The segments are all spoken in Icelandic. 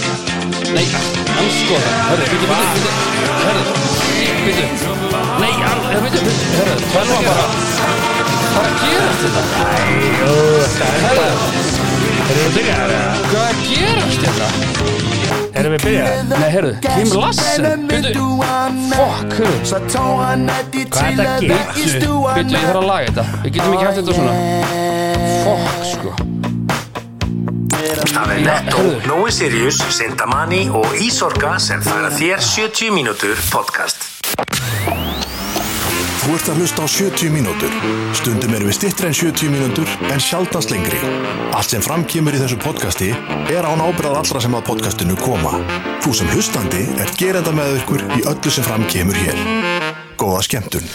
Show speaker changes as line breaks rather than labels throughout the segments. Nei, anskoða Hörru, byrju, byrju, byrju Hörru, byrju Nei, an- hörru, byrju, byrju Hörru, tölva bara Hvað er að gerast þetta?
Jú, það er
Hörru,
Erum við byrjaðar eða?
hvað er að gerast þetta?
Erum við byrjaðar?
Nei, heyrðu, Kim Lassen Byrju, fuck, hörru
Hvað er þetta að gera?
Byrju, byrju, ég þarf að laga þetta Við getum ekki haft þetta svona Fuck, sko
Það er
Já,
Netto,
heyrðu.
Nói Sirius, Sintamani og Ísorka sem færa þér 70 mínútur podcast.
Þú ert að hlusta á 70 mínútur. Stundum erum við stittri en 70 mínútur en sjaldans lengri. Allt sem framkýmur í þessu podcasti er án ábyrðað allra sem að podcastinu koma. Þú sem hlustandi er gerenda með ykkur í öllu sem framkýmur hér. Góða skemmtun.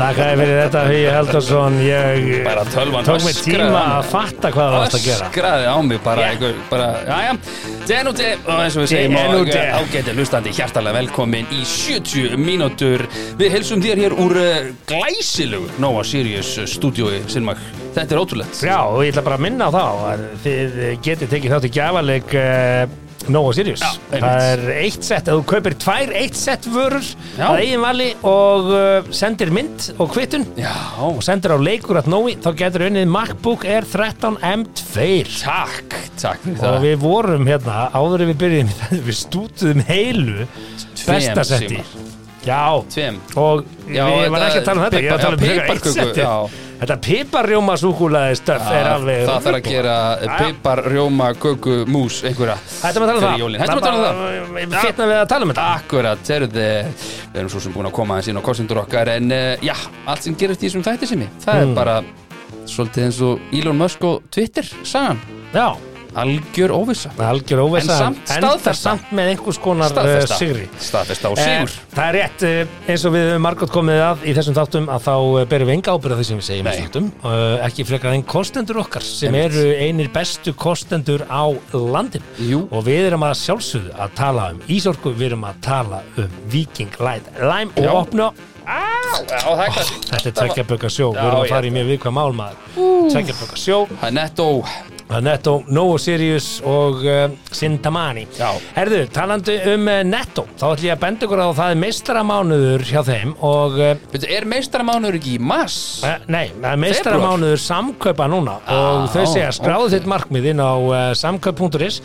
Takk að fyrir þetta Hugi Haldarsson Ég
Bara tölvan
tók mig
öskraði
tíma
á mig.
að fatta hvað það varst að gera
Öskraði á mig bara,
Já.
yeah. bara Jæja, DNUT og eins og við segjum
DNUT.
og eh, ágæti hlustandi hjartalega velkomin í 70 mínútur Við heilsum þér hér úr eh, glæsilegu Nova Sirius stúdiói Sinmak Þetta er ótrúlegt
Já, og ég ætla bara að minna á þá að þið getið tekið þátt í gjafaleik uh, Nóa Sirius
Já, einmitt.
Það er eitt sett, ef þú kaupir tvær eitt sett vörur
Já.
að eigin vali og uh, sendir mynd og kvittun
Já,
og sendir á leikur að Nói þá getur unnið MacBook Air 13 M2
takk, takk fyrir
og
það
við vorum hérna áður en við byrjum við stútuðum heilu besta setti
símar.
Já,
Tveim
og
Já,
ég var
þetta-
ekki að tala um þetta, ég var að tala um
Já,
frekar eitt
piparköku,
setti
já.
Þetta piparjóma súkulaði stöf er alveg
Það þarf að gera
Já.
pipar, rjóma, köku, mús, einhverja
Hættum að tala um
fyrir
það
jólin. Hættum að tala um það
um það Fyrna við að tala um þetta
Akkurat, herruð, við erum svo sem búin að koma aðeins inn á kostendur okkar en uh, já, allt sem gerist í þessum þætti sem ég það er bara svolítið eins og Elon Musk og Twitter sagan,
Já,
algjör óvissa
algjör óvesa
En samt staðfesta.
samt með einhvers konar uh,
staðfesta,
sigri
staðfesta og
Eh,
sigur
Það er rétt, eh, eins og við höfum margótt komið að í þessum þáttum að þá eh, berum við enga ábyrða því sem við segjum í
Nei.
þáttum Eh, ekki frekar en kostendur okkar sem
Einmitt.
eru einir bestu kostendur á landin
Jú.
og við erum að sjálfsögðu að tala um Ísorku, við erum að tala um Viking Light Lime og
Já.
opna
Já, það er klassik
Þetta er tveggja bökka sjó, við
Já,
erum að
ég-
fara í mjög viðkvæm málmaður tveggja bökka sjó
Það er nettó
Það er Netto, Novo Sirius og uh, Sintamani.
Já.
Herðu, talandi um uh, Netto, þá ætlum ég að benda ykkur á að það er meistaramánuður hjá þeim og, uh,
Veitu, er meistaramánuður ekki í mass?
eh, nei, það er meistaramánuður samkaupa núna og
Ah,
þau segja skráðu
ok.
þitt markmið inn á uh, samkaup.is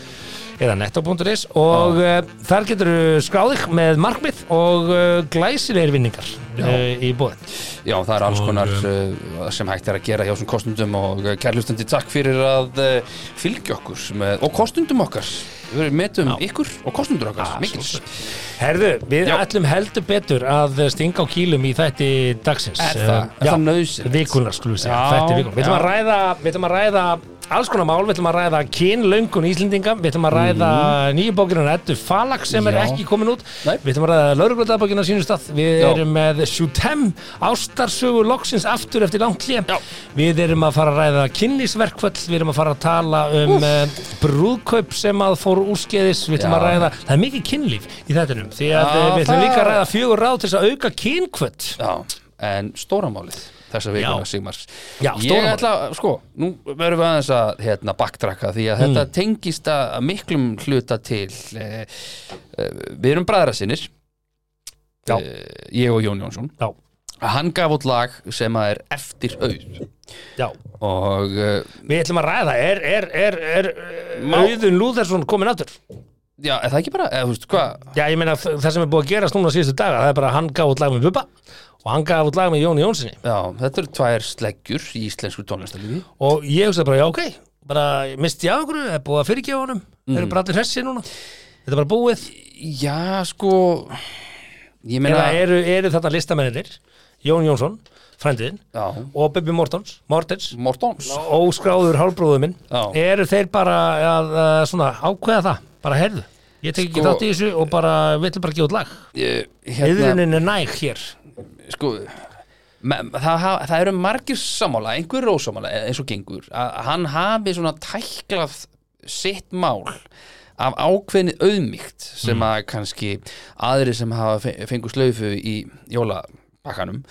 eða netto.is og uh, þar getur skráðið með markmið og uh, glæsilegir vinningar uh, í bóðin.
Já, það er alls konar uh, sem hægt er að gera hjá þessum kostundum og uh, kærlustandi takk fyrir að uh, fylgja okkur með, og kostundum okkar Við metum ykkur og kostundur okkar mikils
Herðu, við
Já.
ætlum heldur betur að stinga á kýlum í þætti dagsins.
Er það?
Eh,
Er
já.
það nöðsinn?
vikunar skulum við segja,
Já,
þetta er vikunar við ætlum
já.
að ræða, við ætlum að ræða alls konar mál, við ætlum að ræða kynlöngun Íslendinga, við ætlum að ræða mm. nýju bókina Eddu Falag sem er
Mhm. Já.
ekki komin út
Nei.
við ætlum að ræða lauruglöðabókina sínum stað við
Já.
erum með Shutem ástarsögu loksins aftur eftir langt hljem við erum að fara að ræða kynlísverkvöll við erum að fara að tala um uh, brúðkaup sem að fór úrskeiðis við ætlum
Já.
að ræða, það er mikið kynlíf í þettinum því að
Já,
eh, við ætlum
það-
líka að ræða fjögur ráð til þess að auka kynkvöll
Já, en stóramálið þessa vikuna,
Já.
Sigmar
Já,
Ég
stóra
ætla, sko, nú verðum við aðeins að hérna, baktrakka því að
Mm.
þetta tengist að að miklum hluta til eh, eh, Við erum bræðra sinir Eh,
Já.
Ég og Jón Jónsson
já,
Hann gaf út lag sem að er eftir auð
já
Og eh,
Við ætlum að ræða, er, er, er, er eh,
Má-
Auðun Lúðarsson komin aftur?
Já, er það ekki bara, eða þú veist hvað
Já, ég meina þ- það sem er búið að gerast núna síðustu daga, það er bara að hann gaf út lag með Bubba og hann gaf út lag með Jóni Jónssoni
Já, þetta eru tvær sleggjur í íslensku tónlistalífi
og ég hugsaði bara, já, ok, bara misti ég af okkur, er búið að fyrirgefa honum,
Mm.
eru bara allir hressi núna, þetta er bara búið.
Já, sko Ég meina
Eða eru, eru þetta listamennir, Jón Jónsson, frændiðinn
Já,
og Bubi Mortons, Mortens,
Mortons
óskráður hálfbróður minn,
Já.
eru þeir bara að, að svona ákveða það, bara heyrðu, ég tek ekki
Sko- Hérna-
þátt í þessu og bara, við ætlum bara að gefa út lag.
Ég-
Heiðunin er næg hér
sko me- það, ha- það eru margir sammála einhver rósammála e, eins og gengur að hann hafi svona tæklað sitt mál af ákveðni auðmygt sem
Mm.
að kannski aðri sem hafa fe- fengu slaufu í jólabakkanum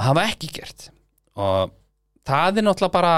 hafa ekki gert og það er náttúrulega bara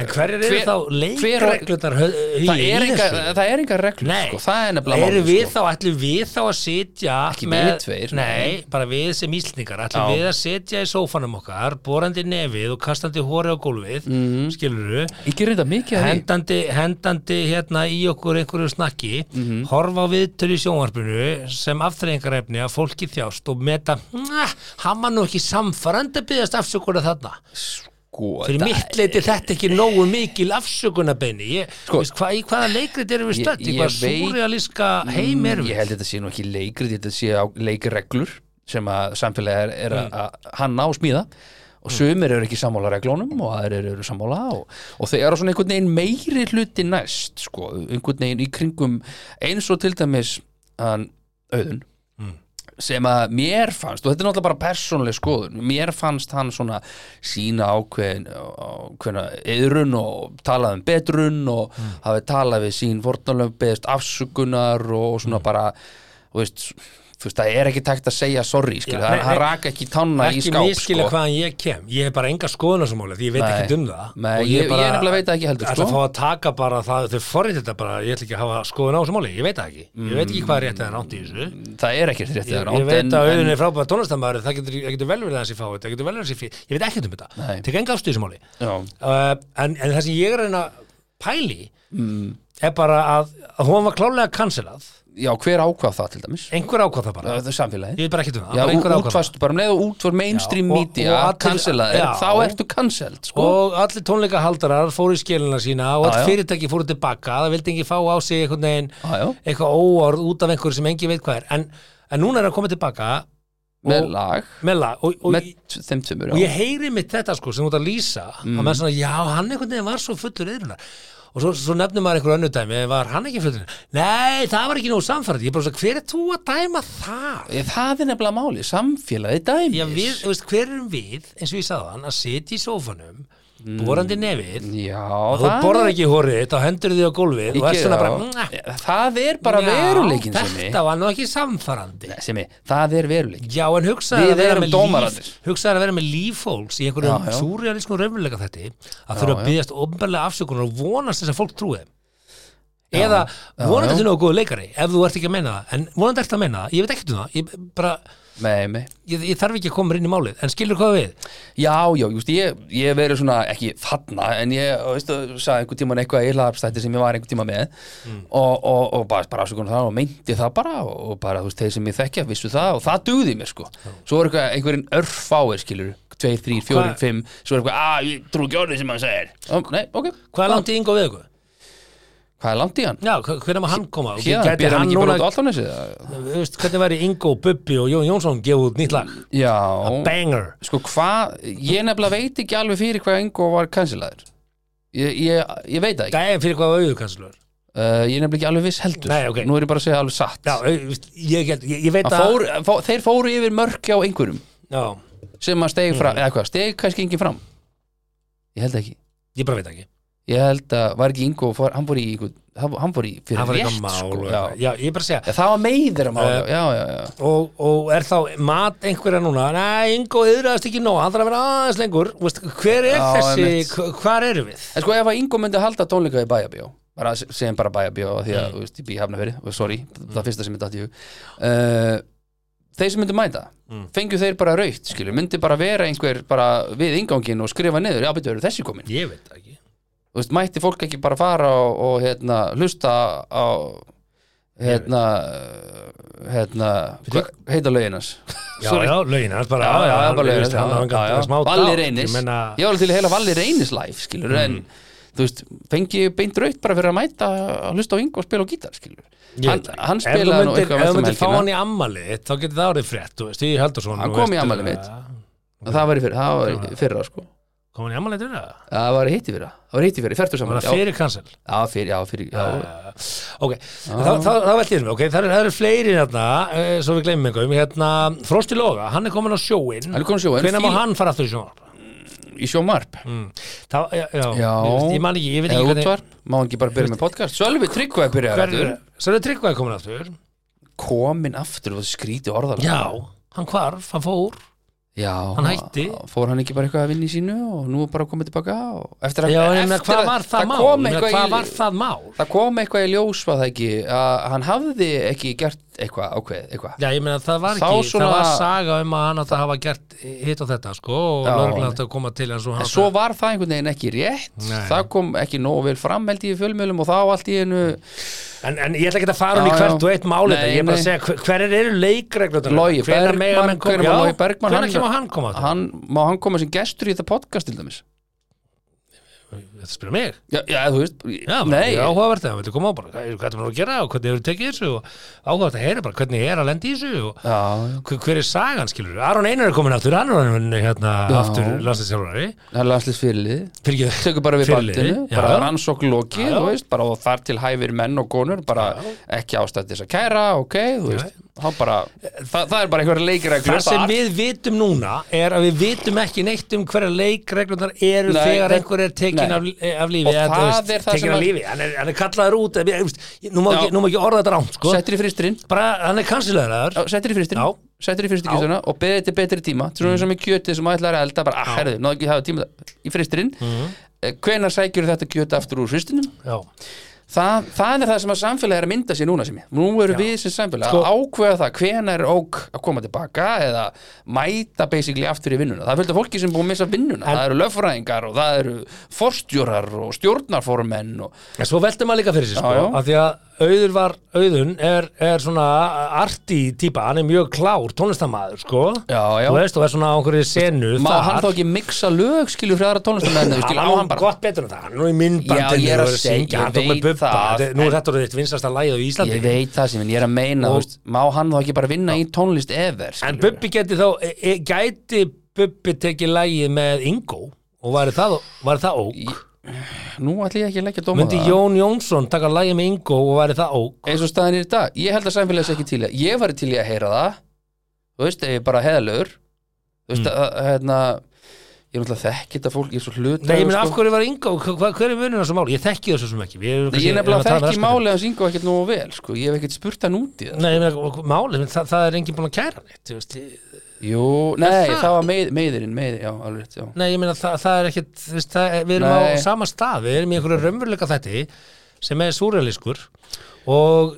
En hverjar eru
Hver-
þá leikreglunar í
það er enga,
þessu?
það er enga reglur
Nei,
sko, það er nefnilega
eru
málið,
við
sko.
þá, ætlum við þá að sitja
Ekki
með,
við tveir,
nei, bara við sem íslningar ætlum
Já.
við að sitja í sófanum okkar borandi nefið og kastandi hóri á gólfið
Mhm.
mm. skilurðu
ég gerir þetta mikið að því
hendandi, hendandi hérna í okkur einhverju snakki
Mhm.
horfa á viðtöl í sjónvarpinu sem aftreyingarefni að fólki þjást og meta, "Mwah, hann var nú ekki samfarandi að byggðast afsökunar þarna
sko,
fyrir
það-
mitt leiti þetta ekki nógu mikil afsökunarbeini ég,
Sko-
veist, hva, í hvaða leikrit erum við
Ég-
stödd
ég
í hvaða
veit-
súrealíska heim erum
Mm, ég
við
held að þetta sé nú ekki leikrið þetta sé á leikreglur sem að samfélagi er,
Mm.
er að, að hanna og smíða og sumir eru ekki sammála reglunum og aðrir eru sammála og, og þeir eru svona einhvern veginn meiri hluti næst sko, einhvern veginn í kringum eins og til dæmis hann auðun
Mm.
sem að mér fannst, og þetta er náttúrulega bara persónleg skoðun, mér fannst hann svona sína ákveðin ákveðna yðrun og talað um betrun og
Mm.
hafi talað við sín vortanlöf beðist afsökunar og svona
Mm.
bara, þú veist þú veist, það er ekki tækt að segja sorry skil,
Já,
hann,
nei,
hann
nei.
rak ekki tanna í
ekki
skáp
miskilja
sko.
hvaðan ég kem ég hef bara enga skoðunar sem ólega því ég veit
Nei.
ekki um það
Nei,
Og
ég- ég nefnilega veit það ekki heldur,
ætla
sko.
að fá að taka bara það, þau forrið þetta bara ég ætla ekki að hafa skoðun á sem ólega, ég veit það ekki ég veit ekki hvað er rétt eða ránt í þessu ég,
Mm, það er ekki rétt eða
ég
rangt, en-
veit að auðvitað
en-
er frábæða tónlistamæður það getur, það getur vel verið að þessi fáið það getur vel verið að þessi fyrir, ég veit ekki um þetta
Nei.
tek enga afstöðu sem ólega
Já.
uh, en, en það sem ég er að reyna að pæli
Mm.
er bara að, að hún var klálega cancelað
Já, hver ákvað það til dæmis?
einhver ákvað það bara,
Það er samfélagið
ég veit bara ekki um það
Já,
bara einhver ákvað það.
útfast, bara um leið og útvar mainstream
Já, og-
media
og allir-
cancelaðir,
já.
þá ertu cancelled sko.
og allir tónleikahaldarar fóru í skilina sína og
Já, já.
all fyrirtæki fóru tilbaka það vildi ekki fá á sig einhvern veginn
Já, já.
eitthvað óorð út af einhverju sem engi veit hvað er en, en núna er hann komið tilbaka
með
og-
lag
með lag og, og,
með t- þeim tveimur
og
já.
ég heyri mitt þetta sko sem út að lýsa
Mm.
að menn svona, já, hann einhvern veginn var svo fullur yðrunar og svo, svo nefnum maður einhver önnu dæmi var hann ekki fullur yfirnar? nei, það var ekki nóg samfærið, ég er bara svona, hver er þú að dæma það?
Ég- það er nefnilega máli, samfélagi dæmis
Já, við, þú veist, hver erum við, eins og ég sagðan, að sitja í sófanum,
Mm.
borandi nefið,
já
þú
það,
borðar ekki hórið þitt og hendur því á gólfið
Ég
og er
geri
svona
það.
bara "Mwah."
það er bara
Já,
veruleikin sem
þetta var nú ekki samfarandi
ég sem ég, það er veruleikin
já en hugsaði
Við
að, vera
erum
með
dómararnir.
líf, hugsaði að vera með lífhóls í
Já,
einhverjum
já.
súrealískum raunveruleika þetta að þurfa að byggjast ofnbarlega afsökunar og vonast þess að fólk trúi þeim eða vonandi
já.
þetta nógu góðu leikari ef þú ert ekki að meina það en vonandi ert að meina það, ég veit ekkert um það ég, bara,
með mig
ég, ég þarf ekki að koma inn í málið en skilur hvað við,
Já, já, just, ég, ég hef verið svona, ekki þarna, en ég, veistu, sagði einhvern tíman eitthvað eilaðarstætti sem ég var einhvern tíma með og, og, og bara, bara afsökunum það og meinti það bara og, og bara, þú veist, þeir sem ég þekkja vissu það og það dugði mér, sko. Svo er eitthvað, einhverjum örfáir, skilur, tveir, þrír, fjórir,
Hvað-
fimm, svo er eitthvað, að, ég trú ekki orðið sem hann segir. Ó, nei, ok.
hvað er langt í yngu við ykkur?
Hvað er langt í hann?
Já, hvernig maður hann koma? Og
Hér,
gæti
býr hann
hann
ekki
núna,
bara út á alltaf
þú veist, hvernig væri Ingo, Bubbi og Jón Jónsson gefið út nýtt lag?
Já.
Banger!
sko hvað, ég nefnilega veit ekki alveg fyrir hvað Ingo var cancelaður ég, ég, ég veit það ekki
Dæin fyrir hvað var auðkanslur?
uh, ég er nefnilega ekki alveg viss heldur
Nei, ok.
nú er ég bara að segja alveg satt
Já, ég, ég, held- ég, ég veit
Hann fór, fó, þeir fóru yfir mörk á einhverjum
Já,
sem að stegi
Mm.
fram, eða hvað, stegi kannski engin fram ég held ekki
ég bara veit ekki
ég held að var ekki Ingo, fór, hann fór í einhver, hann hann fór í fyrir
Það var
rétt
eitthvað mál
sko,
og
já.
eitthvað. Já, ég bara segja
Ég, það var meiðir að mála,
Eh,
já, já, já
og, og er þá mat einhverja núna Nei, Ingo yðraðast ekki nóg, hann þarf að vera aðeins lengur Vist, Hver er
Já, einmitt.
þessi, hvað erum við?
en sko ef að Ingo myndi halda tónleika í bæjabíó bara se- segjum bara bæjabíó því að, þú veist, ég bý hafna verið, sorry, það fyrsta sem ég datt í hug uh, þeir sem myndu mæta fengju þeir bara raukt, skilur, myndi bara vera einhver bara við ingangin og skrifa niður já, betur, eru þessi komin
Ég veit það ekki
þú veist, mætti fólk ekki bara fara og, og hérna, hlusta á hérna hérna, hvað heita löginans
Já, já, lögin, hans bara
já, já, bara löginans
veist, hann- hann gat- smá dát,
Valli
ég
reynis,
meina, Mm.
ég var alveg til að heila Valli reynis live, skilur, en þú veist, fengi ég beint raut bara fyrir að mæta að hlusta á Ingo og spila á gítar, skilur
ég
hann,
veit það ekki.
hann
Ef þú
spilaði nú
myndir-
eitthvað
Ef
um
þú myndir fá
helgina.
hann í ammali þitt, þá getur það árið frétt þú veist, ég heldur svona
Hann kom í afmælið mitt. það var í fyrra, það var í fyrra, sko
Kom hann í ammali þetta?
það var í hitti fyrra, það var í hitti fyrra, í færtu
Var
saman
það fyrir Ah. cancel?
já, fyrir, já, fyrir, já,
Ok, þá, þá, þá veldi ég um, ok, það eru, það eru fleiri hérna, uh, svo við gleymum einhverjum, hérna, Frosti Loga, hann er komin á sjóin,
Hann er kominn á sjóinn.
hvenær má
Fíl-
hann fara aftur í sjóin?
í sjómarp
Þá, já, já,
Já,
Mm. Ég, veist, ég man ekki, ég veit ekki
eða útvarp, má hann ekki bara byrja með podcast Sölvi Tryggvaði byrjaði aftur
hvernig, svo er Tryggvaði komin aftur,
komin aftur og skríti orðalega
já, hann hvarf, hann fór,
Já,
Hann hætti.
Fór hann ekki bara eitthvað að vinna í sínu og nú er bara komið tilbaka og eftir að,
Já, en ég meina,
eftir
hvað
að-
var það mál? Ég
kom
meina,
eitthvað
Hvað
í-
var það mál?
Það kom eitthvað í ljós var það ekki að hann hafði ekki gert eitthvað ákveð, eitthvað
Já, ég meina, það var
Þá
ekki,
svona-
það var saga um að hann átti að hafa gert hitt og þetta, sko, og
Já.
lögreglan átti að koma til hans og
En
hann
svo var það einhvern veginn ekki rétt
Nei.
það kom ekki nógu vel fram held ég í fjölmjölum og þá allt í einu
En, en ég ætla ekki að fara hún
Já,
í hvert
já.
og eitt máli
Nei,
þetta, ég er bara
nei.
að segja hver- hverjar eru leikreglunar
Logi Bergmann,
Bergman,
hvenær má Logi Bergmann
Hvernig kemur hann koma á þetta?
hann, Má hann koma sem gestur í þetta podcast til dæmis
Þetta spyrir mig
Já, já þú veist
Já,
Nei,
nei, áhugavert það, viltu koma á bara hvað hvað er maður að gera og hvernig hefur tekið þessu og áhugavert að heyra bara hvernig er að lenda í þessu og
já, já.
hver, hver er sagan skilur Aron Einar er komin aftur, hann er hann hérna
Já.
aftur landsinsjálfari
það er landslið fyrirlið
Fyrir
tekur bara við
Fyrirliði,
bandinu,
já.
bara rannsókn lokið,
Já.
þú veist, bara og þar til hæfir menn og konur, bara ekki ástætt þess að kæra, ok, þú veist þá bara, það, það er bara einhver leikreglur
Það sem
þar.
við vitum núna er að við vitum ekki neitt um hverja leikreglunar eru
Nei,
þegar
það-
einhver er tekin
nei.
af, eh, af lífi
Og
eða, þú
það
veist,
er það
tekinn
sem
af
að-
lífi. hann, er, hann er kallaður út eða, ég, veist, ég- nú má
Já.
ekki, nú má ekki orða þetta rámt sko.
settir í fristurinn,
bara hann er kansilegaður
Já, settir í
Já. Mm.
fristurinn settir í fristurinn og beðið til betri tíma svona eins og með kjötið sem ætlar að elda bara, ah, herðu, náðu ekki að hafa tíma í fristurinn mm. hvenar sækjur þetta kjöt aftur úr fristunum
já.
Það, það er það sem að samfélagi er að mynda sér núna sem ég. Nú eru við sem samfélagi
Sko-
að ákveða það hvenær er ók að koma tilbaka eða mæta basically aftur í vinnuna. Það er fullt af fólki sem er búið að missa vinnuna. það eru löffræðingar og það eru forstjórar og stjórnarformenn og
en svo veltum maður líka fyrir sér
Já,
sko,
já.
af því að auður var auðun er, er svona arti típa, hann er mjög klár tónlistamæður sko.
Já, já.
Þú veist, og er svona á einhverju senu
má
þar.
hann þá ekki mixa lög skilju frá aðra tónlistamennu.
Hann
Skilju á
á
hann bara.
gott betur en það, hann er nú í
Já,
myndbandinu
ég er að
og er
segja,
syngja,
ég
hann tók með
veit
bubba
það,
Þetta- Nú
en-
er þetta orðið þitt vinsasta lagið á Íslandi
Ég veit það sem en ég er að meina,
Og-
þú veist, má hann þá ekki bara vinna í tónlist ever
En
skilju.
Bubbi geti þá, e, e, gæti Bubbi tekið lægið með Ingo og var það, var það ók?
Nú ætlum ég ekki að leggja dóma
Myndi Jón Jónsson taka lægið með Ingo og var það ók?
eins og staðan er í dag ég held að samfélagis ekki til í að ég var til í að heyra það þú veist, ef ég bara heðalögur þú
Mm.
veist, að, að, hérna ég er náttúrulega þekki þetta fólk, ég er svo sko. hlut
Nei, ég minn af hverju var Ingo, hva- hva- hver er munurinn á þessu máli? Ég þekki þessu sem ekki Við erum
ég
kannski-
er
erum að
nefnilega
tala um
þekki
það sko.
málið hans yngu ekkert nógu vel sko. ég hef ekkert spurt hann út í það
Nei, ég meina, málið, það, það er enginn búin að kæra neitt, þú veist, ég-
jú, nei,
það?
það, var meið, meiðirinn meið, já, alveg rétt, já.
Nei, ég meina, það, það er ekkit, þú veist, það, er- við erum
Nei.
á sama stað, við erum í einhverju raunveruleika þætti sem er súrealiskur og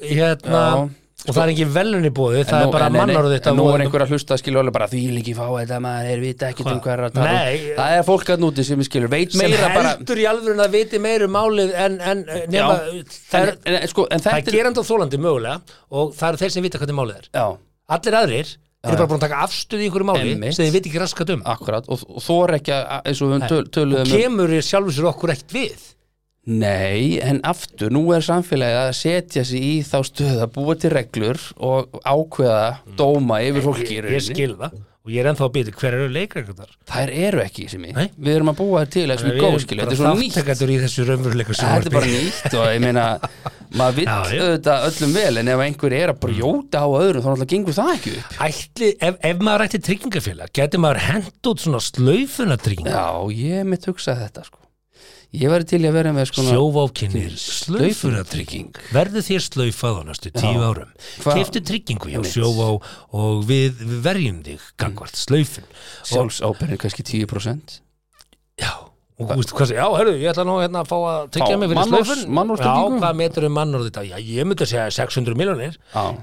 Já.
hérna, og það er engin velun í bóði, það
En nú-
er bara
en- en-
mannar og þetta
en nú
voru-
er einhver að hlusta skilur alveg bara því líki fá þetta maður er vita ekkert um
Hvað?
hverra tala um."
Nei.
það er fólk að núti sem skilur veit
sem
meira bara
heldur í alvörun að viti meira um málið en, en eh, nema,
Já.
það, er,
en, en, sko, en
það
þetta
er gerandi og þólandi mögulega og það eru þeir sem vita hvernig málið er
já,
allir aðrir eru bara búin að taka afstöðu í einhverju máli
Einmitt.
sem þeir viti ekki raskat um
Akkurat, og, og þor ekki að eins og við töl,
og
töluðum um
kemur í sjálfur sér okkur ekkert við
Nei, en aftur, nú er samfélagið að setja sig í þá stöð að búa til reglur og ákveða dóma yfir fólki í
Mm. ég, ég
rauninni
skil það og ég er ennþá að byrja hver eru leikreglundar
Þær eru ekki sem ég,
Nei.
við erum að búa þær til þessum
Við
góð,
erum
skilja, þetta
bara
er svona nýtt
þátttakendur í þessu raunveruleika
Þetta er bara
sjónvarpi.
nýtt og ég meina maður vill
Já, Mm. já.
auðvitað öllum vel en ef einhver er að brjóta á öðrum þá náttúrulega gengur það ekki upp
Ætli, ef, ef maður ætti tryggingafélag getur maður hent út svona slaufuna trygginga
Já, ég mitt hugsaði þetta sko Ég væri til í að vera með sko
sjóvákinir,
Slaufuna
slaufuna trygging verðu þér slaufað á næstu tíu árum
Hva-
keftu tryggingu hjá
Einmitt.
sjóvá og við við verjum þig gangvart slaufun og,
sjálfsábyrðin kannski 10%
já, og þú veist hvað já, hörru, ég ætla nú hérna að fá að tryggja
Já,
mig fyrir
mannorðs-
slaufun
mannorðstryggingu.
já, hvað metur um mannorð þetta, já, ég myndi að segja 600 miljonir
Já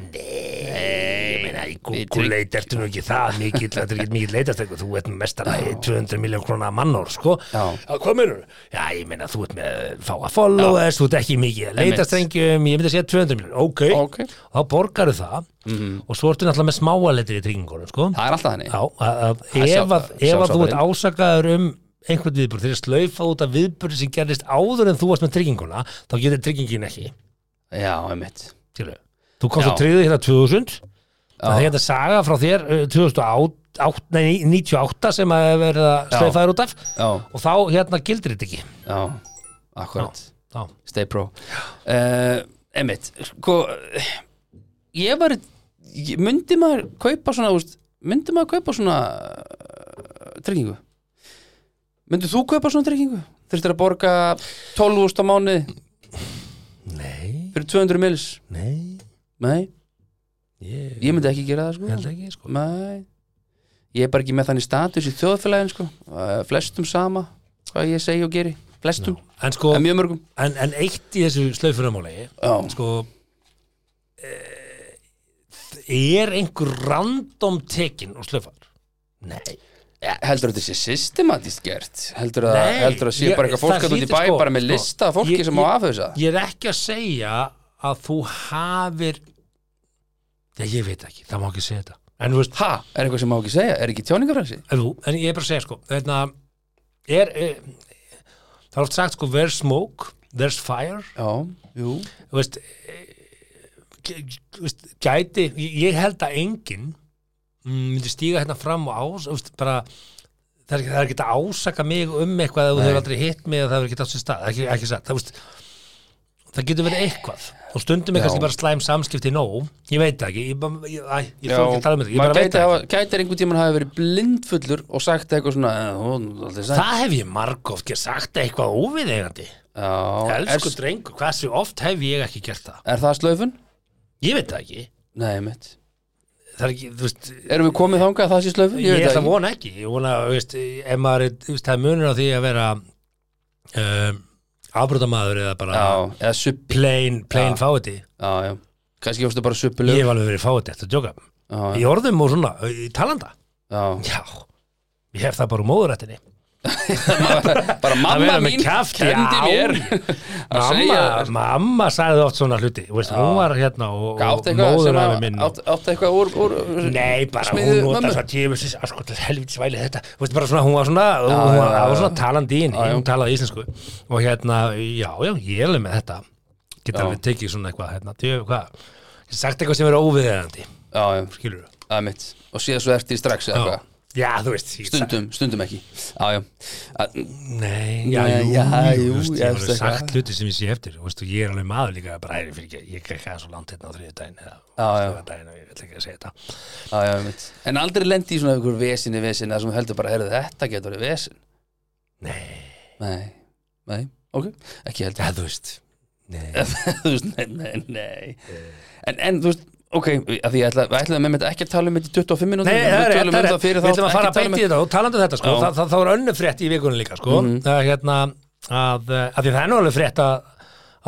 Nei, ég meina, í Google
trygg-
leit ertu nú ekki það mikill, þetta er ekki mikill leitast eitthvað, þú ert mestara 200 miljón krónar mannor, sko.
Já.
Hvað meinur? Já, ég meina, þú ert með fáa followers, þú ert ekki mikið að leitast reyngjum, ég myndi að segja 200 miljón, ok.
Ok. Mhm.
Þá borgaru það og svo ertu náttúrulega með smáaletir í tryggingunum, sko.
Það er alltaf þannig
Já, að, að,
Það er
ef, að,
sjálf-
ef að þú ert
sjálfsábyrgðin.
ásakaður um einhvern viðbúr, þegar slaufa út af viðbúr sem gerðist áður en þú varst með trygginguna, þá getur tryggingin ekki,
Já, einmitt
skilur. Þú komst
Já.
að tryggði hérna 2000 Það er
Já,
hérna saga frá þér uh, 2008, nei, 98 sem að hefur verið að
Já.
sleifaður út af
já,
og þá hérna gildir þetta ekki
já, akkurat
Já.
Stay pro uh, Emmitt, sko Ég var ég- Myndi maður kaupa svona úst, Myndi maður kaupa svona uh, Tryggingu Myndi þú kaupa svona tryggingu? Þurftir að borga 12.000 á mánu
Nei,
Fyrir 200 mils
nei
Nei,
Ég
ég myndi ekki gera það
held
sko
ekki sko
Nei ég er bara ekki með þannig status í þjóðfélagin sko. Eh, flestum sama hvað ég segi og geri, flestum
en sko,
en mjög mörgum
en, en eitt í þessu slaufurumáli
Já.
sko eh, er einhver random tekin og slaufar? Nei
heldur að þetta sé systematist gert heldur að,
Nei,
heldur að sé
ég-
bara eitthvað fólk
það
að út í
hlýtur
bæ
sko-
bara með
sko,
lista af fólki
ég-
sem á
ég-
aðfauðsa
Ég er ekki að segja að þú hafir Já, ég veit ekki, það má ekki segja þetta En þú veist,
ha, er eitthvað sem má ekki segja, er ekki tjáningafræðsi
en þú, en ég er bara að segja sko Þetta er, er Það er oft sagt sko, there's smoke, there's fire
já, jú,
Þú veist, eh, þú veist Gæti, ég ég held að enginn mm, myndi stíga hérna fram og ás þú veist, bara það er, ekki- það er ekki að ásaka mig um eitthvað að þú hefur aldrei hitt mig að það hefur ekki átt sér stað, það er ekki, ekki satt það, veist, það getur verið eitthvað og stundum er
Já.
kannski bara slæm samskipti nóg ég veit það ekki, ég, bara- ég, æ, ég þarf ekki að tala um þetta ég
maður
bara veit
gæti,
það
hafa,
ekki
gæti einhvern tímann hafi verið blindfullur og sagt eitthvað svona eh, hún, er aldrei sagt.
það hef ég margóft ekki sagt eitthvað óviðeigandi
já,
elsku
er,
drengur, hversu oft hef ég ekki gert það
er það slöfun?
ég veit það ekki,
nei, mitt
það er ekki, þú veist
erum við komið þangað að það sé slöfun?
ég,
veit
ætla
það
að vona ekki ég vona, þú veist, ef maður er, þú veist, það er munur á því að vera um, afbrotamaður eða bara
já, eða suppi
plain, plain
Já.
fáiði
já, já, kannski fórstu bara suppilög
ég hef alveg verið fáiði eftir að djóka
já,
í orðum og svona, í talanda
já.
já, ég hef það bara úr móðurættinni
bara
að
mamma
vera með
mín
kjaft,
kenndi
já.
mér að
mamma,
segja
mamma sagði oft svona hluti þú veist, hún var hérna og, og
átt eitthvað sem
móðurættin
að
minn og,
átt, átt eitthvað úr, úr
Nei, bara
smiðju
hún nota
mömmu?
svona tjöfusins að sko til helvitis væli þetta Þú veist, bara svona, hún var svona, hún var,
já,
já,
já.
svona talandi inn,
já.
hún talaði íslensku og hérna, já, já, ég er alveg með þetta geta
Já.
alveg tekið svona eitthvað hérna, tjöf, hvað, ég sagt eitthvað sem er óviðeðandi
já, já,
skilur þú,
það er mitt og síðan svo eftir strax eða
já,
hvað
já, þú veist ég sa-
stundum, stundum ekki já, já, að,
Nei, já,
Nei,
jú,
já,
jú,
jú, ég
þú veist, ég hef
veist
alveg
eitthvað.
sagt hluti sem ég sé eftir, þú veist, og ég er alveg maður líka bara, æri, fyrir ekki, ég kekka svo langt hérna á þriðu daginn eða,
Já, já.
daginn og ég ætla ekki að segja þetta
já, já, mitt en aldrei lendi í svona ykkur vesinni vesinni sem heldur bara, heyrðu þetta getur verið vesin nei, nei, ok ekki heldur
Já, þú veist, nei Eh.
þú veist, nei, nei, nei en, en þú veist, ok, að því ég ætla, ætla með þetta ekki að tala um þetta í 25 minútur
Nei, það er rétt, það er rétt, við
um við
ætlum að fara að beint í þetta og talandi um þetta sko,
Já. Mhm.
það, það, það var önnur frétt í vikunum líka sko, mm. hérna að, að því það er nú alveg frétt að,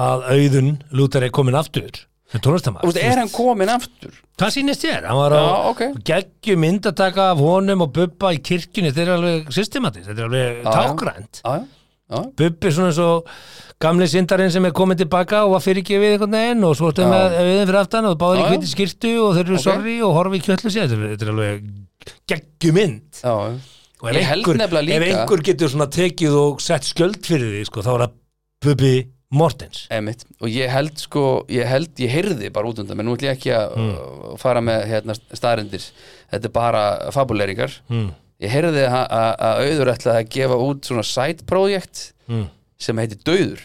að auðun Lúter er komin aftur sem
Þú veist,
tónlistamæður,
er hann komin aftur?
það sýnist þér hann var á
Já, ok.
geggju myndataka af honum og Bubba í kirkjunni, þeir eru alveg systematist, þetta er alveg
Já, já.
tákgrænt
Já, já, já,
Bubbi svona eins og gamli sindarinn sem er komin tilbaka og var fyrirgefið einhvern veginn og svo ertu
Já.
með auðin fyrir aftan og báður
Já,
í
já.
hviti skirtu og þeir eru
Ok.
sorry og horfi í kjöllu sér, þetta er- þetta er alveg geggju mynd
já, já.
og ef
Ég held
einhver,
nefnilega líka-
ef einhver getur svona tekið og sett skjöld fyrir því sko, þá er það Bubi Mortens
Einmitt. og ég held sko, ég held ég heyrði bara út undan, menn nú ætlum ég ekki að uh, fara með hérna staðrendir þetta er bara fabuleringar
mm.
ég heyrði að- að að auður ætlaði að gefa út svona side project
Mm.
sem heitir Dauður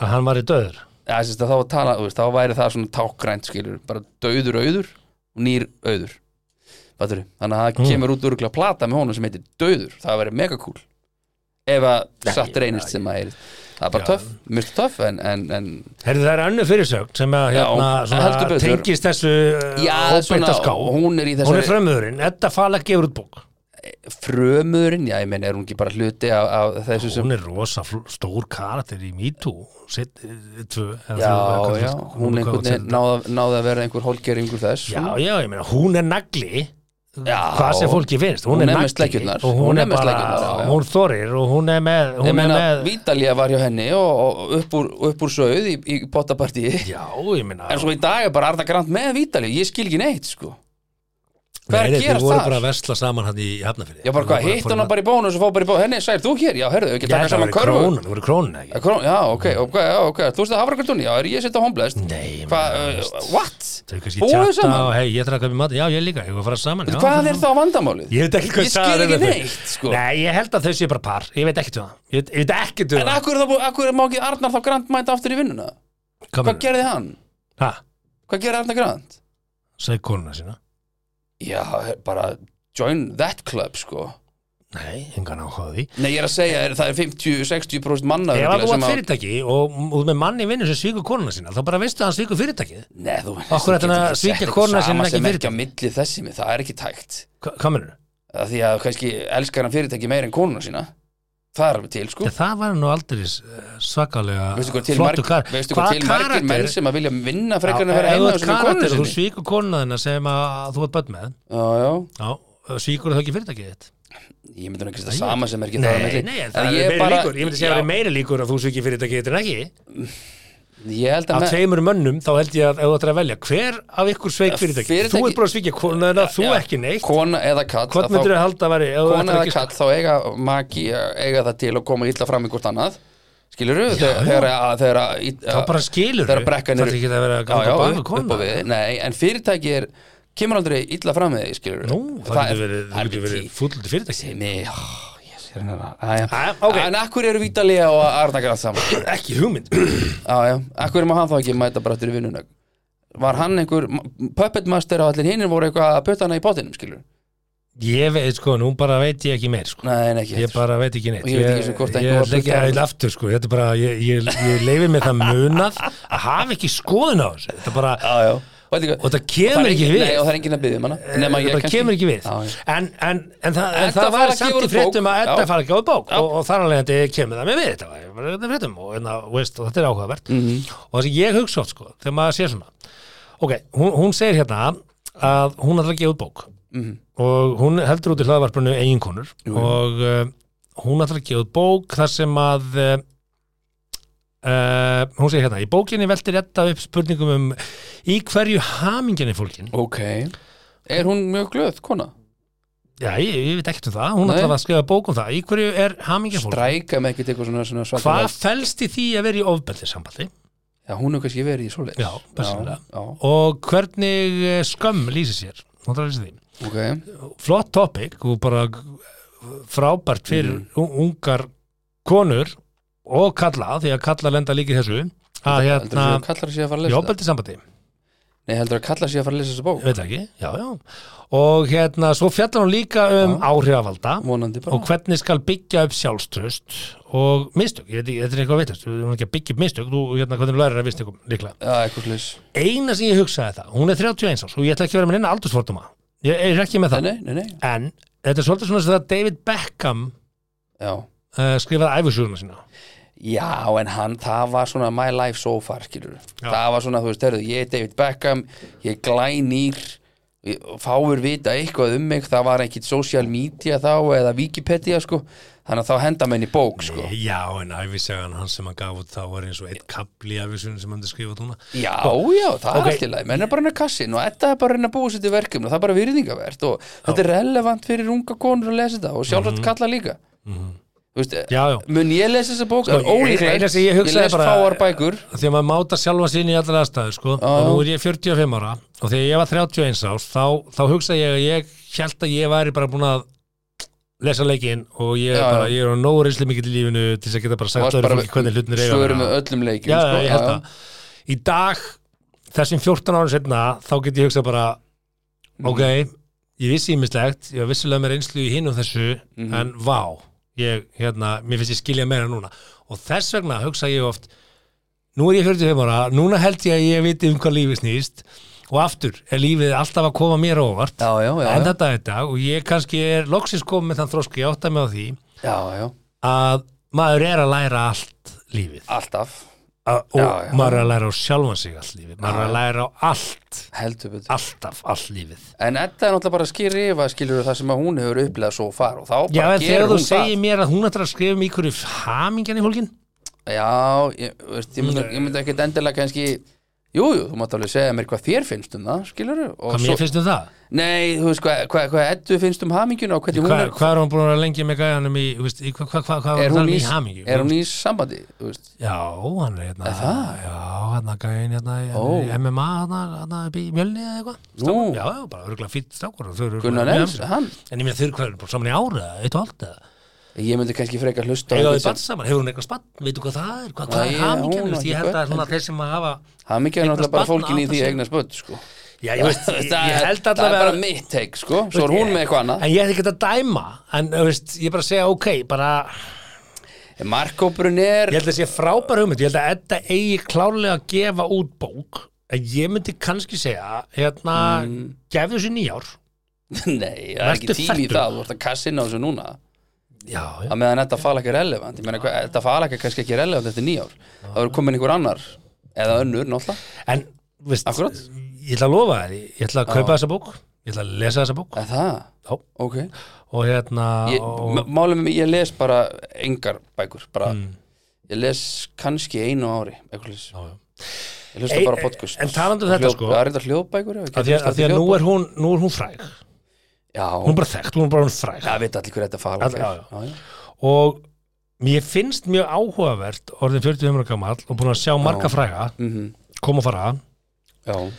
að hann var í döður
ja, sem sagt að þá, var tala, þú veist, þá væri það svona tákgrænt skilur, bara Dauður auður og nýr auður Fattur, þannig að það
Mm.
kemur út örgulega plata með honum sem heitir Dauður, það væri mega cool ef að satt reynist sem að er það er bara
Já.
töff, mjög töff en, en, en
Herðu það er annu fyrirsögn sem að hérna,
Já, heldur
svona,
betur.
tengist þessu uh,
Já, svona,
óbyrta ská hún,
hún er í
hún
þessari
er frömmuðurinn, Edda Falak gefur út bók
frömuðurinn, já ég meina er hún ekki bara hluti af, af þessu sem
hún er rosa fl- stór karakter í Me Too set, eh, tvö, eða
já,
þrjú, eða
já,
hvað-
hún
hvað-
einhvern
hvað-
veginn náði, náði að vera einhver hólgeringur þess
já,
svona.
já, ég meina, hún er nagli
Já.
hvað sem fólki finnst, hún,
Hún
er
er með
nagli
sleggjurnar.
og hún,
Hún er
er
með
bara,
sleggjurnar, já, já.
hún þorir og hún er með,
ég
hún er
meina,
með
Vítalía var hjá henni og, og upp, úr, upp úr sögð í, í pottapartíi
Já, ég meina
en svo í dag er bara Arda Grant með Vítalíu ég skil ekki neitt sko hvað er að
Nei, nei,
gera
Þeir voru bara
þar?
að vesla saman hann í Hafnafyrði
Já bara hvað, hitt hún bara í bónus og fá bara í bónus henni, sæl þú hér, já herðu, ekki
Ég
taka
held að
saman
það voru
körfu
krónan, voru krónan ekki
Krón, já, ok, ok, já, ok, þú veist að hafrakartunni, já, er ég sitt á homblest?
Mm. Nei,
Hvað,
menn,
uh,
veist.
what?
Þau kannski
Búið
tjatta
saman?
og hei, ég þarf að köpa í mat Já, ég líka, ég var að fara saman já,
Hvað
fyrir
er þá vandamálið?
Ég veit ekki hvað
Ég skil
það er
ekki
með þau.
neitt, sko.
Nei, ég held að þau séu bara par Ég veit ekkert um það Ég veit- ég veit ekkert um
En akkur, það, bú- akkur má ekki Arnar þá Grant mæta aftur í vinnuna?
það
Hvað gerði hann?
Ha,
Hvað gerði Arnar Grant?
sagði konuna sína
Já, bara join that club, sko
Nei, engan áhugaði
Nei, ég er að segja, er, það er 50-60% manna
Ef að
örugglega
þú var
sem að-
fyrirtæki og út með manni vinnur sem svíkur konuna sína þá bara veistu að hann svíkur fyrirtækið
Nei, þú
Okkur ætti hann að svíkja konuna sína en ekki
Sama sem ekki
fyrirtæki?
á milli þessi með, það er ekki tækt
Hva- Hvað mennur?
að Því að kannski elskar hann fyrirtæki meira en konuna sína Það er alveg til, sko
Það var nú aldrei svakalega
Veistu hvað til,
flottur
marg,
kar-
veistu hvað
Hvaða
til margir menn sem að vilja vinna frekar en að vera
Ef þú
heima
ert
og sinni
karakter
konu
og þú
sinni
svíkur konuna þina sem að þú ert börn með
Já, já,
Já, svíkur þau ekki fyrirtækið þitt
ég myndi nú ekki þetta sama sem er ekki þar á
Nei,
milli.
nei, en
En
það
ég
er meiri
bara-
líkur Ég myndi segja að
Já,
það er meiri líkur að þú svíkir fyrirtækið þitt en ekki
Ég held að
Af
með
tveimur mönnum þá held ég að ef þú ættir að velja hver af ykkur sveik fyrirtækið Þú
fyrirtæki-
ert bara að svíkja konuna, þú
Já,
ekki neitt
Kona eða katt að
Hvort
þá-
myndir þau halda að veri
kona eða kall þá eiga maki eiga það til að koma illa fram í hvort annað skilur þú, þegar að- þegar að ít-
Þá bara skilurðu.
þegar brekkan
Það er ekki að vera að ganga á bak við
upp,
konu.
upp á við, nei, en fyrirtæki er kemur aldrei illa fram með þig, skilur
Nú, það, getur verið, það getur verið fúllandi fyrirtæki Æ, ok.
hérna. en akkur eru Vítalega og Arnagrað saman
Ekki hugmynd
já, já, akkur má hann þá ekki mæta bara eftir í vinnuna var hann einhver puppet master og allir hinnir voru eitthvað að putta hana í bótinum, skilur
Ég veit sko, nú bara veit ég ekki meir sko.
nei, nei, ekki
Ég bara veit ekki neitt
Og ég veit ekki sem hvort
ég,
einhver var
ég, ég,
fullorðinn.
ég, aftur, sko. Þetta er bara, ég, ég, ég leifi mér það munað að hafa ekki skoðun á þessu Þetta bara,
já, já. Og þetta-
og það kemur
er
ekki
engin-
við Eh,
Nei, og það er enginn að byggja um hana nema
það
ég
bara
kannski-
kemur ekki við
Já, já.
en, en, en það, en
Edda
það
fara
var
að gefa
samt í
út
fréttum
bók.
að
Já.
Edda fara ekki á bók
Já.
og, og þar alveg þetta kemur það með við þetta var- var þetta fréttum og, en, og, veist, og þetta er áhugavert
Mhm.
og það sem ég hugsa oft sko þegar maður sér svona ok, hún, hún segir hérna að hún ætlar að gefa út bók
Mhm.
og hún heldur út í hlaðvarpinu eiginkonur og uh, hún ætlar að gefa út bók þar sem að uh, uh, hún segir hérna í bókinni veltir Edda upp spurningum um í hverju hamingjan er fólkin
ok er hún mjög glöð, kona?
Já, ég, ég veit ekkert um það, hún
Nei.
ætlaði að skrifa bók um það Í hverju er hamingja fólk?
stræka með ekkert eitthvað svona, svona svakalega-
Hvað felst í því að vera í ofbeldi sambandi?
já, hún hefur kannski verið í svoleiðis
Já, persónulega.
já,
Og hvernig eh, skömm lýsir sér? Hún ætlaði að lýsa því
ok
Flott topic og bara frábært fyrir mm. ungar konur og kalla því að kalla lenda líka í þessu að
heldur
hérna
þú að kallar sé að fara að
í
lesa það?
ofbeldi sambandi
nei, heldur að kallar sé að fara að lesa þessa bók
veit það ekki, já, já og hérna, svo fjallar hún líka um áhrifavalda
vonandi bara
og hvernig skal byggja upp sjálfströst og mistök, ég veit ekki, þetta er eitthvað veitast við erum ekki að byggja upp mistök, þú hérna hvernig lærir að mistökum líklega.
já, eitthvað slis
Eina sem ég hugsaði það, hún er 31 árs og ég ætla ekki að vera með neina aldursforduma ég er ekki með það,
nei, nei, nei
en þetta er svolítið svona sem það David Beckham
já
uh, skrifaði æfusuguna sína
Já, en hann, það var svona my life so far, skilur
Já.
Það var svona, þú veist, herrðu, ég er David Beckham Ég glænýr ég- Fáir vita eitthvað um mig Það var ekkit social media þá Eða Wikipedia, sko Þannig að þá henda menn í bók, sko
Já, en æfisagan hans sem hann gaf út þá var eins og eitt kapli æfisugun sem hann skrifaði núna
Já, já, það
ok.
er allt í lagi Menn er bara hann að kassin og þetta er bara að reyna að búa sér til verkefni og Það er bara virðingavert og þetta er relevant fyrir unga konur að lesa þetta og sjálfsagt
Mhm.
kalla líka Þú veist,
Já, já.
mun ég lesa þessa bók? Það er
eina
ólíklegt
sem Mhm. Sko, ég hugsaði
les
bara-
fáar bækur
því að maður máta sjálfa sín í allar aðstæður sko. og nú er ég 45 ára og þegar ég var 31 árs þá, þá hugsaði ég að ég held að ég væri bara búin að lesa leikinn og ég,
Já,
er bara,
já.
ég er á nógu reynsli mikill í lífinu til þess að geta bara
Þú
sagt
varst
öðru
bara
fólki hvernig hlutinir eiga að
svörum við
vera.
öllum leikjum
já,
sko.
já, ég held það í dag, þessum 14 ára setna þá get ég hugsað bara
Mm.
ok, ég vissi ímislegt ég var vissulega með reynslu í hinn og þessu
Mhm.
en vá, ég, hérna, mér finnst ég skilja meira núna og þess vegna hugsa ég oft nú er ég 45 ára, núna held ég að ég viti um hvað lífið snýst og aftur er lífið alltaf að koma mér á óvart
Já, já, já,
en
já.
þetta er dag og ég kannski er loksins komið með þann þrósku, ég átta mig á því
já, já,
að maður er að læra allt lífið
alltaf
A og
Já, já.
maður er að læra á sjálfan sig allt lífið maður er að læra á allt,
heldur betur
alltaf allt lífið
en þetta er náttúrulega bara að skýrifa skilur það sem að hún hefur upplegað svo far og þá
Já,
bara
en þegar
gerir
þú
hún
segir
það
mér að hún ætlar að skrifa um í hverju hamingjan í fólkin
já, ég, þú veist, ég
Mm.
myndi, ég myndi ekki endilega kannski Jú, jú, þú mátt alveg segja mér hvað þér finnst um það, skilur og
Hvað mér finnst um það?
Nei, þú veist, hvað hva, hva Eddu finnst um hamingjuna og hvernig
Hvað
hún
er,
er
hvað er hún búin að vera lengi með gæjanum í, þú veist, í hvað hva, hva, hva
Er
var
hún,
hún
í,
í hamingju?
er hún í sambandi, þú veist
Já, hann er hérna
það?
Já, hérna gæjan hérna í-
Ó.
í MMA, hérna, hérna upp í mjölni eða eitthvað
Nú,
Já, já, bara örgulega fýtt strákur og þau eru
Gunnar
örugglega-
Nels, hann
En ég meina þau eru hvað, bara saman í ára, eitt og allt eða
Ég myndi kannski frekar hlusta á
Eða
einhvern
þau bann saman, hefur hún eitthvað spann, veitu hvað það er, hvað, hvað
Nei,
er
hún
hamingjan,
á
þú veist, ég
ekki
held
börn, sko.
að svona þeir sem að hafa
Hamingja er
Eignast
náttúrulega bara
barn
fólkin í
átta
því
sig.
eignar spöld sko.
Já, ég veist, ég,
það,
ég
er-
held
það er
allavega
bara mitt teik sko, svo er hún með eitthvað annað
En ég ætti ekki að dæma En þú veist, ég er bara að segja, ok, bara
markkópurinn er
Ég held að sé frábær hugmynd Ég held að Edda eigi klárlega að gefa út bók En ég myndi kannski segja Hérna, mm. gefðu sér nýjár
nei, það er
Vertu
ekki tími í
fæddur.
það, þú ert að kassina á þessu núna
Já, já
að meðan þetta fala ekki relevant ég meina, hvað- þetta fala ekki kannski ekki relevant eftir nýjár það eru komin einhver annar eða önnur náttúrulega,
En, þú veist,
Akkurat.
ég ætla að lofa þér Ég ætla að kaupa þessa bók Ég ætla að lesa þessa bók
eða það,
Já.
ok
Og hérna
ég,
og,
m- málið með, ég les bara engar bækur, bara ég les kannski einu á ári eitthvað leys,
Hmm. já.
ég hlusta
Ei,
bara á podcast
en talandi um þetta,
Hljóð-
sko.
það er þetta hljóðbækur já, ég
Af
get
því að,
hlustað
að, því að
eftir
nú,
hljóðbækur.
er hún, nú er hún fræg Hún er
já,
bara þekkt, hún er bara hún fræg
það veit allir hver þetta fala
Allir- já, já.
já, já.
og mér finnst mjög áhugavert orðin 40 umra gamall og búin að sjá marga fræga
Mhm.
koma og fara
Já,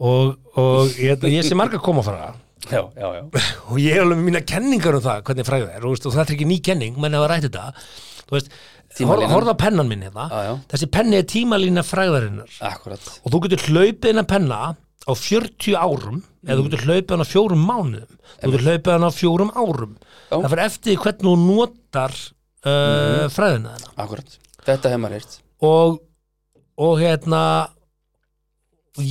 og, og ég, ég sé marga koma og fara
já, já, já.
og ég er alveg með mína kenningar um það hvernig fræga er og, veist, og þetta er ekki ný kenning, menn hafa rætt þetta þú veist, hor,
Tímalínan.
horfða á pennan minn hérna
Já, já.
þessi penni er tímalína fræðarinnar
akkurat
og þú getur hlaupið hennar penna á 40 árum
Mm.
eða þú getur hlaupið hennar á fjórum mánuðum þú getur hlaupið hennar á fjórum árum
Já. Mm.
það fyrir eftir því hvernig þú notar uh, fræðina hennar
Akkurat, þetta hef maður heyrt
og, og hérna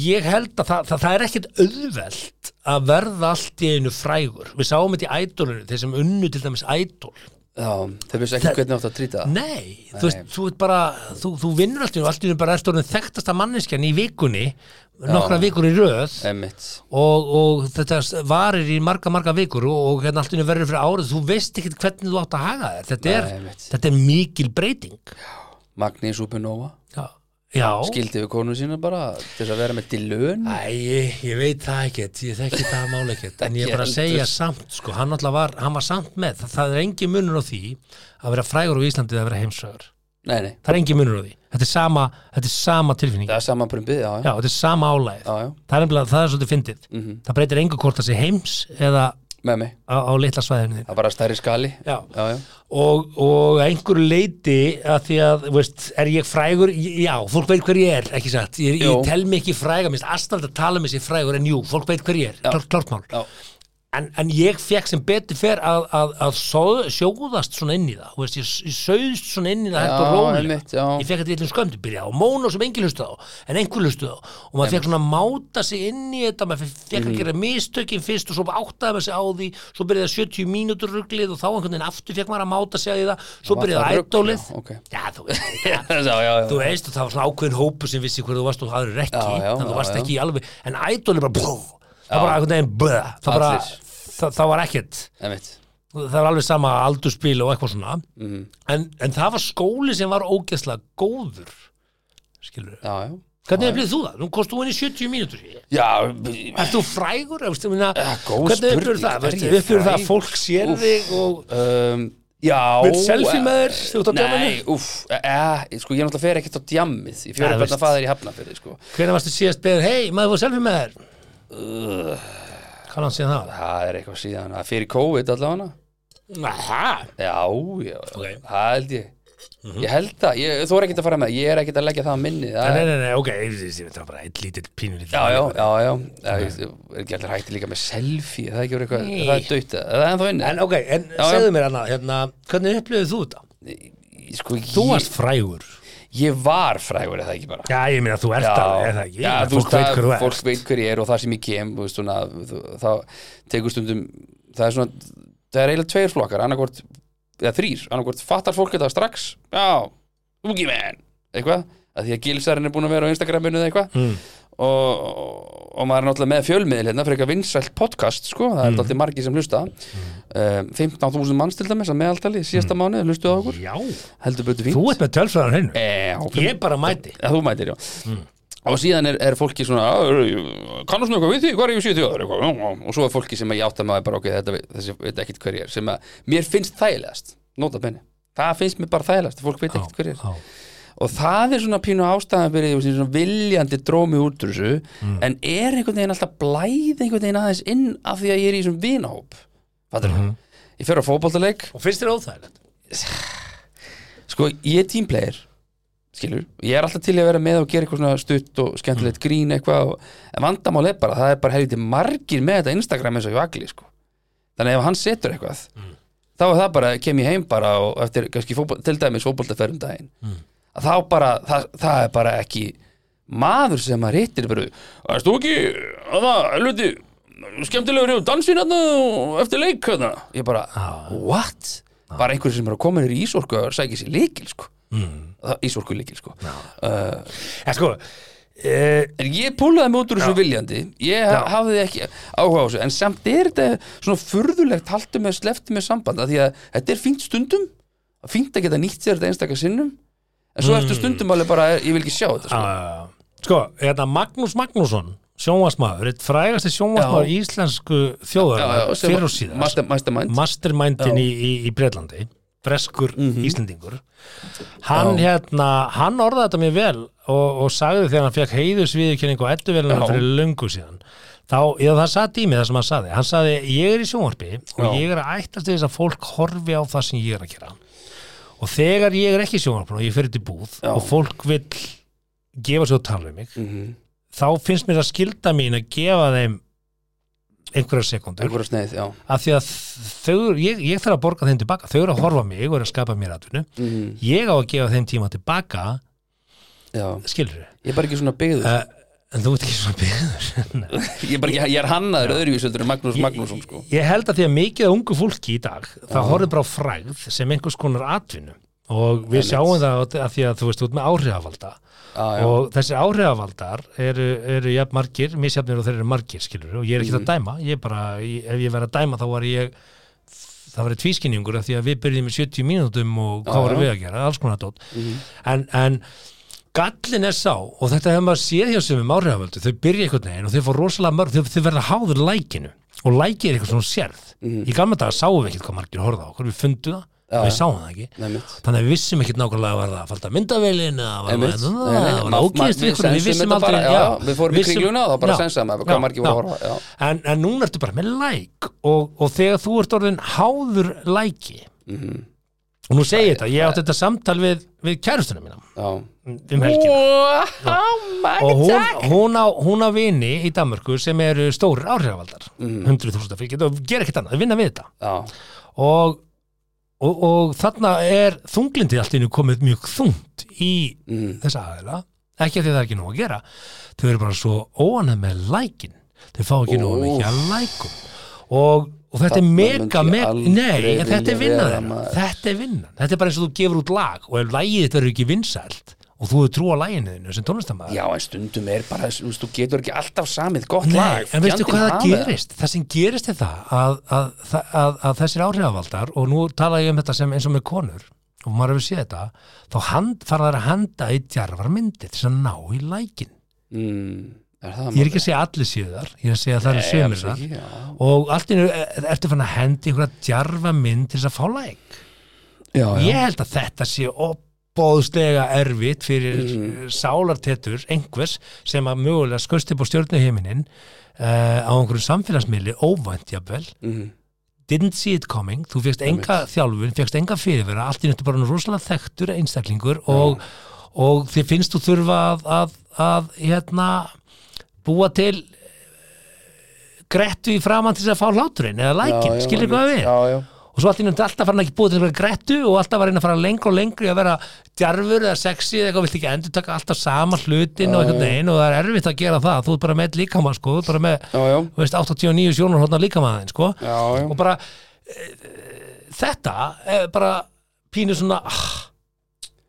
ég held að það, það, það er ekkit auðvelt að verða allt í einu frægur við sáum þetta í ædolinu, þeir sem unnu til dæmis ædol
Já, þeir vissi ekki
Það-
hvernig átt að trýta það
nei, þú veist, þú, ert bara, þú, þú vinnur allt í einu, allt í einu bara eftir orðin þekktasta manneskjan í vikunni nokkra vikur í röð
Emmitt,
og, og þetta varir í marga, marga vikur og, og hérna allt í einu verður fyrir árið þú veist ekkit hvernig þú átt að haga þér þetta,
Nei,
er,
einmitt.
þetta er mikil breyting
Magni Supernova
já, já.
Skildi við konu sína bara til þess að vera með dilun
Æ, ég, ég veit það ekkert, ég þekki það mál ekkert en ég er bara að
Ekki
segja
heldur.
samt sko, hann, náttúrulega var, hann var samt með, það, það er engin munur á því að vera frægur á Íslandi eða að vera heimsögur
Nei, nei,
það er engin munur á því, þetta er sama, þetta er sama tilfinning,
það er saman brumbið, já,
já, þetta er sama
já, Mhm.
álæð
já,
það er, nefnilega- það er svolítið fyndið það breytir engu hvort það sé heims eða
með mig
á, á litla svæðinu þín
Það er bara stærri skali
já.
Já, já,
Og, og að einhverju leiti að því að, þú veist, er ég frægur já, fólk veit hver ég er, ekki satt ég,
Jú.
ég tel mig ekki fræga, minnst aðstæld að tala með sér frægur, en jú, fólk veit hver ég er klart, klart mál
já,
en, en ég fekk sem betur fer að, að, að sóð, sjóðast svona inn í það Þú veist, ég, ég sauðst svona inn í það hægt og
Já,
rólega
einmitt, já.
ég fekk þetta yllum skömmt að byrja og móna sem engin hlustu á en einhver hlustu á og maður fekk svona að máta sig inn í þetta maður fekk
Mm.
að gera mistökin fyrst og svo áttaði maður sig á því svo byrjaði 70 mínútur ruglið og þá einhvern veginn aftur fekk maður að máta sig á því það svo
var það
byrjaði
rugl,
ædólið
já, ok.
já, þú veist já,
já, já, já.
þú veist og það var svona ákveðin hópu sem vissi hverðu varst og aðri rekki
Já, já,
þannig að þú
já,
varst
já.
ekki í alveg en ædol er bara brú, það bara einhvern veginn brú, það bara
Allir.
það, það var ekkert
emmitt
það var alveg sama aldurspil og eitthvað svona
Mhm.
en, en það var skóli sem var ógeðslega góður skilur
Já, já
hvernig er blið þú það? Nú kost þú inn í 70 mínútur
Já, um,
Er þú frægur? Þú veist, ég meina,
Eh, góð
Hvernig upplifir
spurning.
það?
Er
Veistu,
ég
Upplifir það að
frægur?
fólk sér
Úff.
þig og
um, já
Vill selfie með þér, þú ert á
Nei,
djamminu?
úff, e, sko, ég náttúrulega fer ekkert á djammið Ég
Nei,
fjóra
veist.
hvernig að faðir í hafnafyrði, sko
hvernig varstu síðast beðið hei, maður fór selfie með þér?
Uh.
Hvað hann síðan það?
Það er eitthvað síðan, það er fyrir COVID allavega
Aha.
Já, já,
Ok. Mhm.
það held ég Ég held það, ég, þú er ekkert að fara með Ég er ekkert að leggja það að minni það
Nei,
er,
nei, nei, ok, ég- ég- ég- þetta var bara eitt lítill pínu lítill.
Já, já, já, já Það er ekki allir hægt líka með selfie Það er ekki verið eitthvað,
Nei.
það er dauta Það er ennþá inni
En ok, en
Já, já.
segðu mér annað, hérna, hvernig upplifir þú þetta?
Ég- Sko,
Þú
ég,
varst frægur.
ég var frægur eða ekki bara
Já, ég meina, þú ert alveg, er það ekki?
já,
Já,
þú
fólk
veist
veit
það,
hver þú ert.
fólk veit hver ég er og það sem ég kem þú veist, svona, þú- þá tekur stundum það er svona, það er eiginlega tveir flokkar annarkvort, eða þrýr annarkvort fattar fólk þetta strax já, ungi menn, eitthvað að því að gilsarinn er búin að vera á Instagraminu eða eitthvað mm. og, og, og maður er náttúrulega með fjölmiðil hérna, frekar vinsælt podcast sko, það er mm. alltaf margir sem hlusta um, 15.000 manns til dæmis að meðaldali síðasta mm. mánuð, hlustuðu á okkur
Já,
heldur betur fínt
þú ert með tölfræðan hennu.
Eh, já,
Ég bara mæti.
Já, þú mætir, já. Og síðan er, er fólki svona, "Ah, kannast nú eitthvað við því, hvað er ég 70 ára? Eitthvað, já, já. Og svo er fólki sem að ég átta maður bara, ok, þetta, veit- þessi veit ekkit hver ég er, sem að mér finnst þægilegast, nota benni. Það finnst mér bara þægilegast, fólk veit ekkit hver ég er.
Já.
Og það er svona pínu ástæðan fyrir því, svona viljandi drómi út úr þessu,
Mm.
en er einhvern veginn alltaf blæð einhvern veginn aðeins inn af því að ég er í þessum vinahóp. Fattar
Mhm.
Ég fer á fótboltaleik,
Og finnst þér óþægilegt?
sko, ég er tímplegir skilur, ég er alltaf til í að vera með og gera eitthvað svona stutt og skemmtilegt grín eitthvað, og, en vandamál er bara, það er bara helviti margir með þetta Instagram eins og ég agli sko. þannig ef hann setur eitthvað þá er það bara, kem ég heim bara og eftir, kannski, fótbol, til dæmis fótboltaferðum daginn að þá bara, það, það er bara ekki maður sem maður hittir bara, veist þú ekki, að það helviti, skemmtilegur hjá dansin hérna og eftir leik hérna ég bara, what? bara einhverjum sem er að koma nýr í Ísorku og sækja sér líkil sko mm. Ísorku líkil sko uh,
En sko, eh,
en ég púlaði mig út úr þessu viljandi ég ha hafði ekki áhuga á þessu en samt er þetta svona furðulegt haltu með slefti með samband af því að þetta er fínt stundum fínt að geta nýtt sér þetta einstaka sinnum en svo ertu stundum alveg bara, ég vil ekki sjá þetta sko.
Uh, sko, hérna Magnús Magnússon sjónvarsmaður, eitt frægasti sjónvarsmaður
Já.
íslensku þjóðar fyrir og síðar,
master, mastermind Mhm.
mastermindin í, í, í Breitlandi breskur Íslendingur hann hérna, hann orðaði þetta mér vel og, og sagði þegar hann fekk heiðusviðurkenningu og edduvelina
Já.
fyrir löngu síðan þá, eða það satt í mig það sem hann sagði hann sagði, ég er í sjónvarpi og
Já.
ég er að ættast til þess að fólk horfi á það sem ég er að gera og þegar ég er ekki í sjónvarpinu og ég fyrir til búð
Já.
og fólk vill gefa sér og tala um mig
Mhm.
þá finnst mér það skilda mín að gefa þeim einhverjar sekundur
einhverja sneið, já
af því að þau, ég, ég þarf að borga þeim tilbaka þau eru að horfa á mig og eru að skapa mér atvinnu
Mhm,
ég á að gefa þeim tíma tilbaka
já,
skilur þau,
ég er bara ekki svona byggður
Eh, en þú ert ekki svona byggður Nei.
ég, er bara, ekki- ég er hannaður öðruvísöldur en Magnús Magnússon sko
ég held að því að mikið af ungu fólki í dag það horfir bara á frægð sem einhvers konar atvinnu og við sjáum það að því að þú veist út með áhrifavaldar
Já, já.
og þessi áhrifavaldar eru, eru jafn margir, misjafnir og þeir eru margir skilur, og ég er ekki
Mhm.
að dæma ég bara, ég, ef ég verið að dæma þá var ég það var tvískinningur af því að við byrjum í 70 mínútum og hvað
Já,
varum
já. Mhm.
við að gera, alls konar dót en, en gallin er sá og þetta hefur maður séð hjá sem um áhrifavöldu þau byrja einhvern veginn og þau fór rosalega mörg þau, þau verða háður lækinu og læki er eitthvað svona sérð í gamla daga sáum við ekkert hvað margir horfða á okkur, við fundum
Mhm.
það
Já,
við
já.
sáum það ekki
Einmitt.
þannig að við vissum ekkert nákvæmlega var það að falda myndavélin eða var
Einmitt.
það-
Nei, nei,
það var
ma-
ógeðist
ma-
við
sensuðum
við vissum
þetta
aldrei
bara, já, við fórum í
vissum-
Kringluna og það bara
já,
sensaðum það, hvað
já,
margir voru að
já.
horfa, já.
en, en núna ertu bara með læk og, og þegar þú ert orðin háður læki
Mhm.
og nú segi ég þetta, ég átti þetta samtal við, við kærustuna mína
já,
um helgina
Wow,
og hún, hún, á, hún á vini í Danmörku sem eru stórir áhrifavaldar
Mhm.
100.000 fylgjum, og gera ekkert annað, vinna við þetta
Já,
og, og, og þarna er þunglindið allt í einu komið mjög þungt í
Mm.
þessa aðila ekki að því að það er ekki nóg að gera þau eru bara svo óanæð með lækin þau fá ekki nóg
Úff.
mikið að lækum og, og þetta er
Þarna
mega
myndi ég
mega,
aldrei
nei, en
vilja
þetta er vinnan
vera,
þeirra
maður.
þetta er vinnan, þetta er bara eins og þú gefur út lag og ef lagið þetta verður ekki vinsælt og þú hefur trú á laginu þínu sem tónlistamæður
Já, en stundum er bara, þú veist, þú getur ekki alltaf samið gott
Nei,
lag.
en veistu
Fjandinn
hvað það
hafi
gerist? Það sem gerist er það að, að, að, að, að þessir áhrifavaldar og nú tala ég um þetta sem eins og með konur og maður hefur séð þetta þá hand, fara þær að handa í djarfar myndir til þess að ná í lækin
Mm, er það
Ég er ekki að segja að allir séu þar ég er að segja að það eru sömur þar
Já,
og allt í einu er- ertu fann að hendi einhverja djarfa mynd til þess að fá læk
já.
Ég held að þetta sé opbóðslega erfitt fyrir mm. sálartetur einhvers sem að mögulega skust upp á stjórnuhiminin uh, á einhverju samfélagsmiðli óvænt jafnvel
Mm,
didn't see it coming, þú fegst enga þjálfun fegst enga fyrirvera, allt í nýttu bara nú rosalega þekktur einstaklingur og, og þið finnst þú þurfa að, að, að hérna búa til eh, grettu í framann til þess að fá hláturinn eða lækin,
já,
skilur hvað
einmitt.
við
Já, já.
og svo allt í nýttu alltaf farin að ekki búa til einhverja grettu og alltaf var einn að fara lengra og lengri að vera djarfur eða sexy eða eitthvað, vilt ekki endur taka alltaf sama hlutin og einhvern veginn og það er erfitt að gera það, þú ert bara með líkamann sko, þú ert bara með
Já, já.
þú veist, 89 sjónarhóðna líkamann sko
Já, já.
og bara e, þetta er bara pínu svona ah,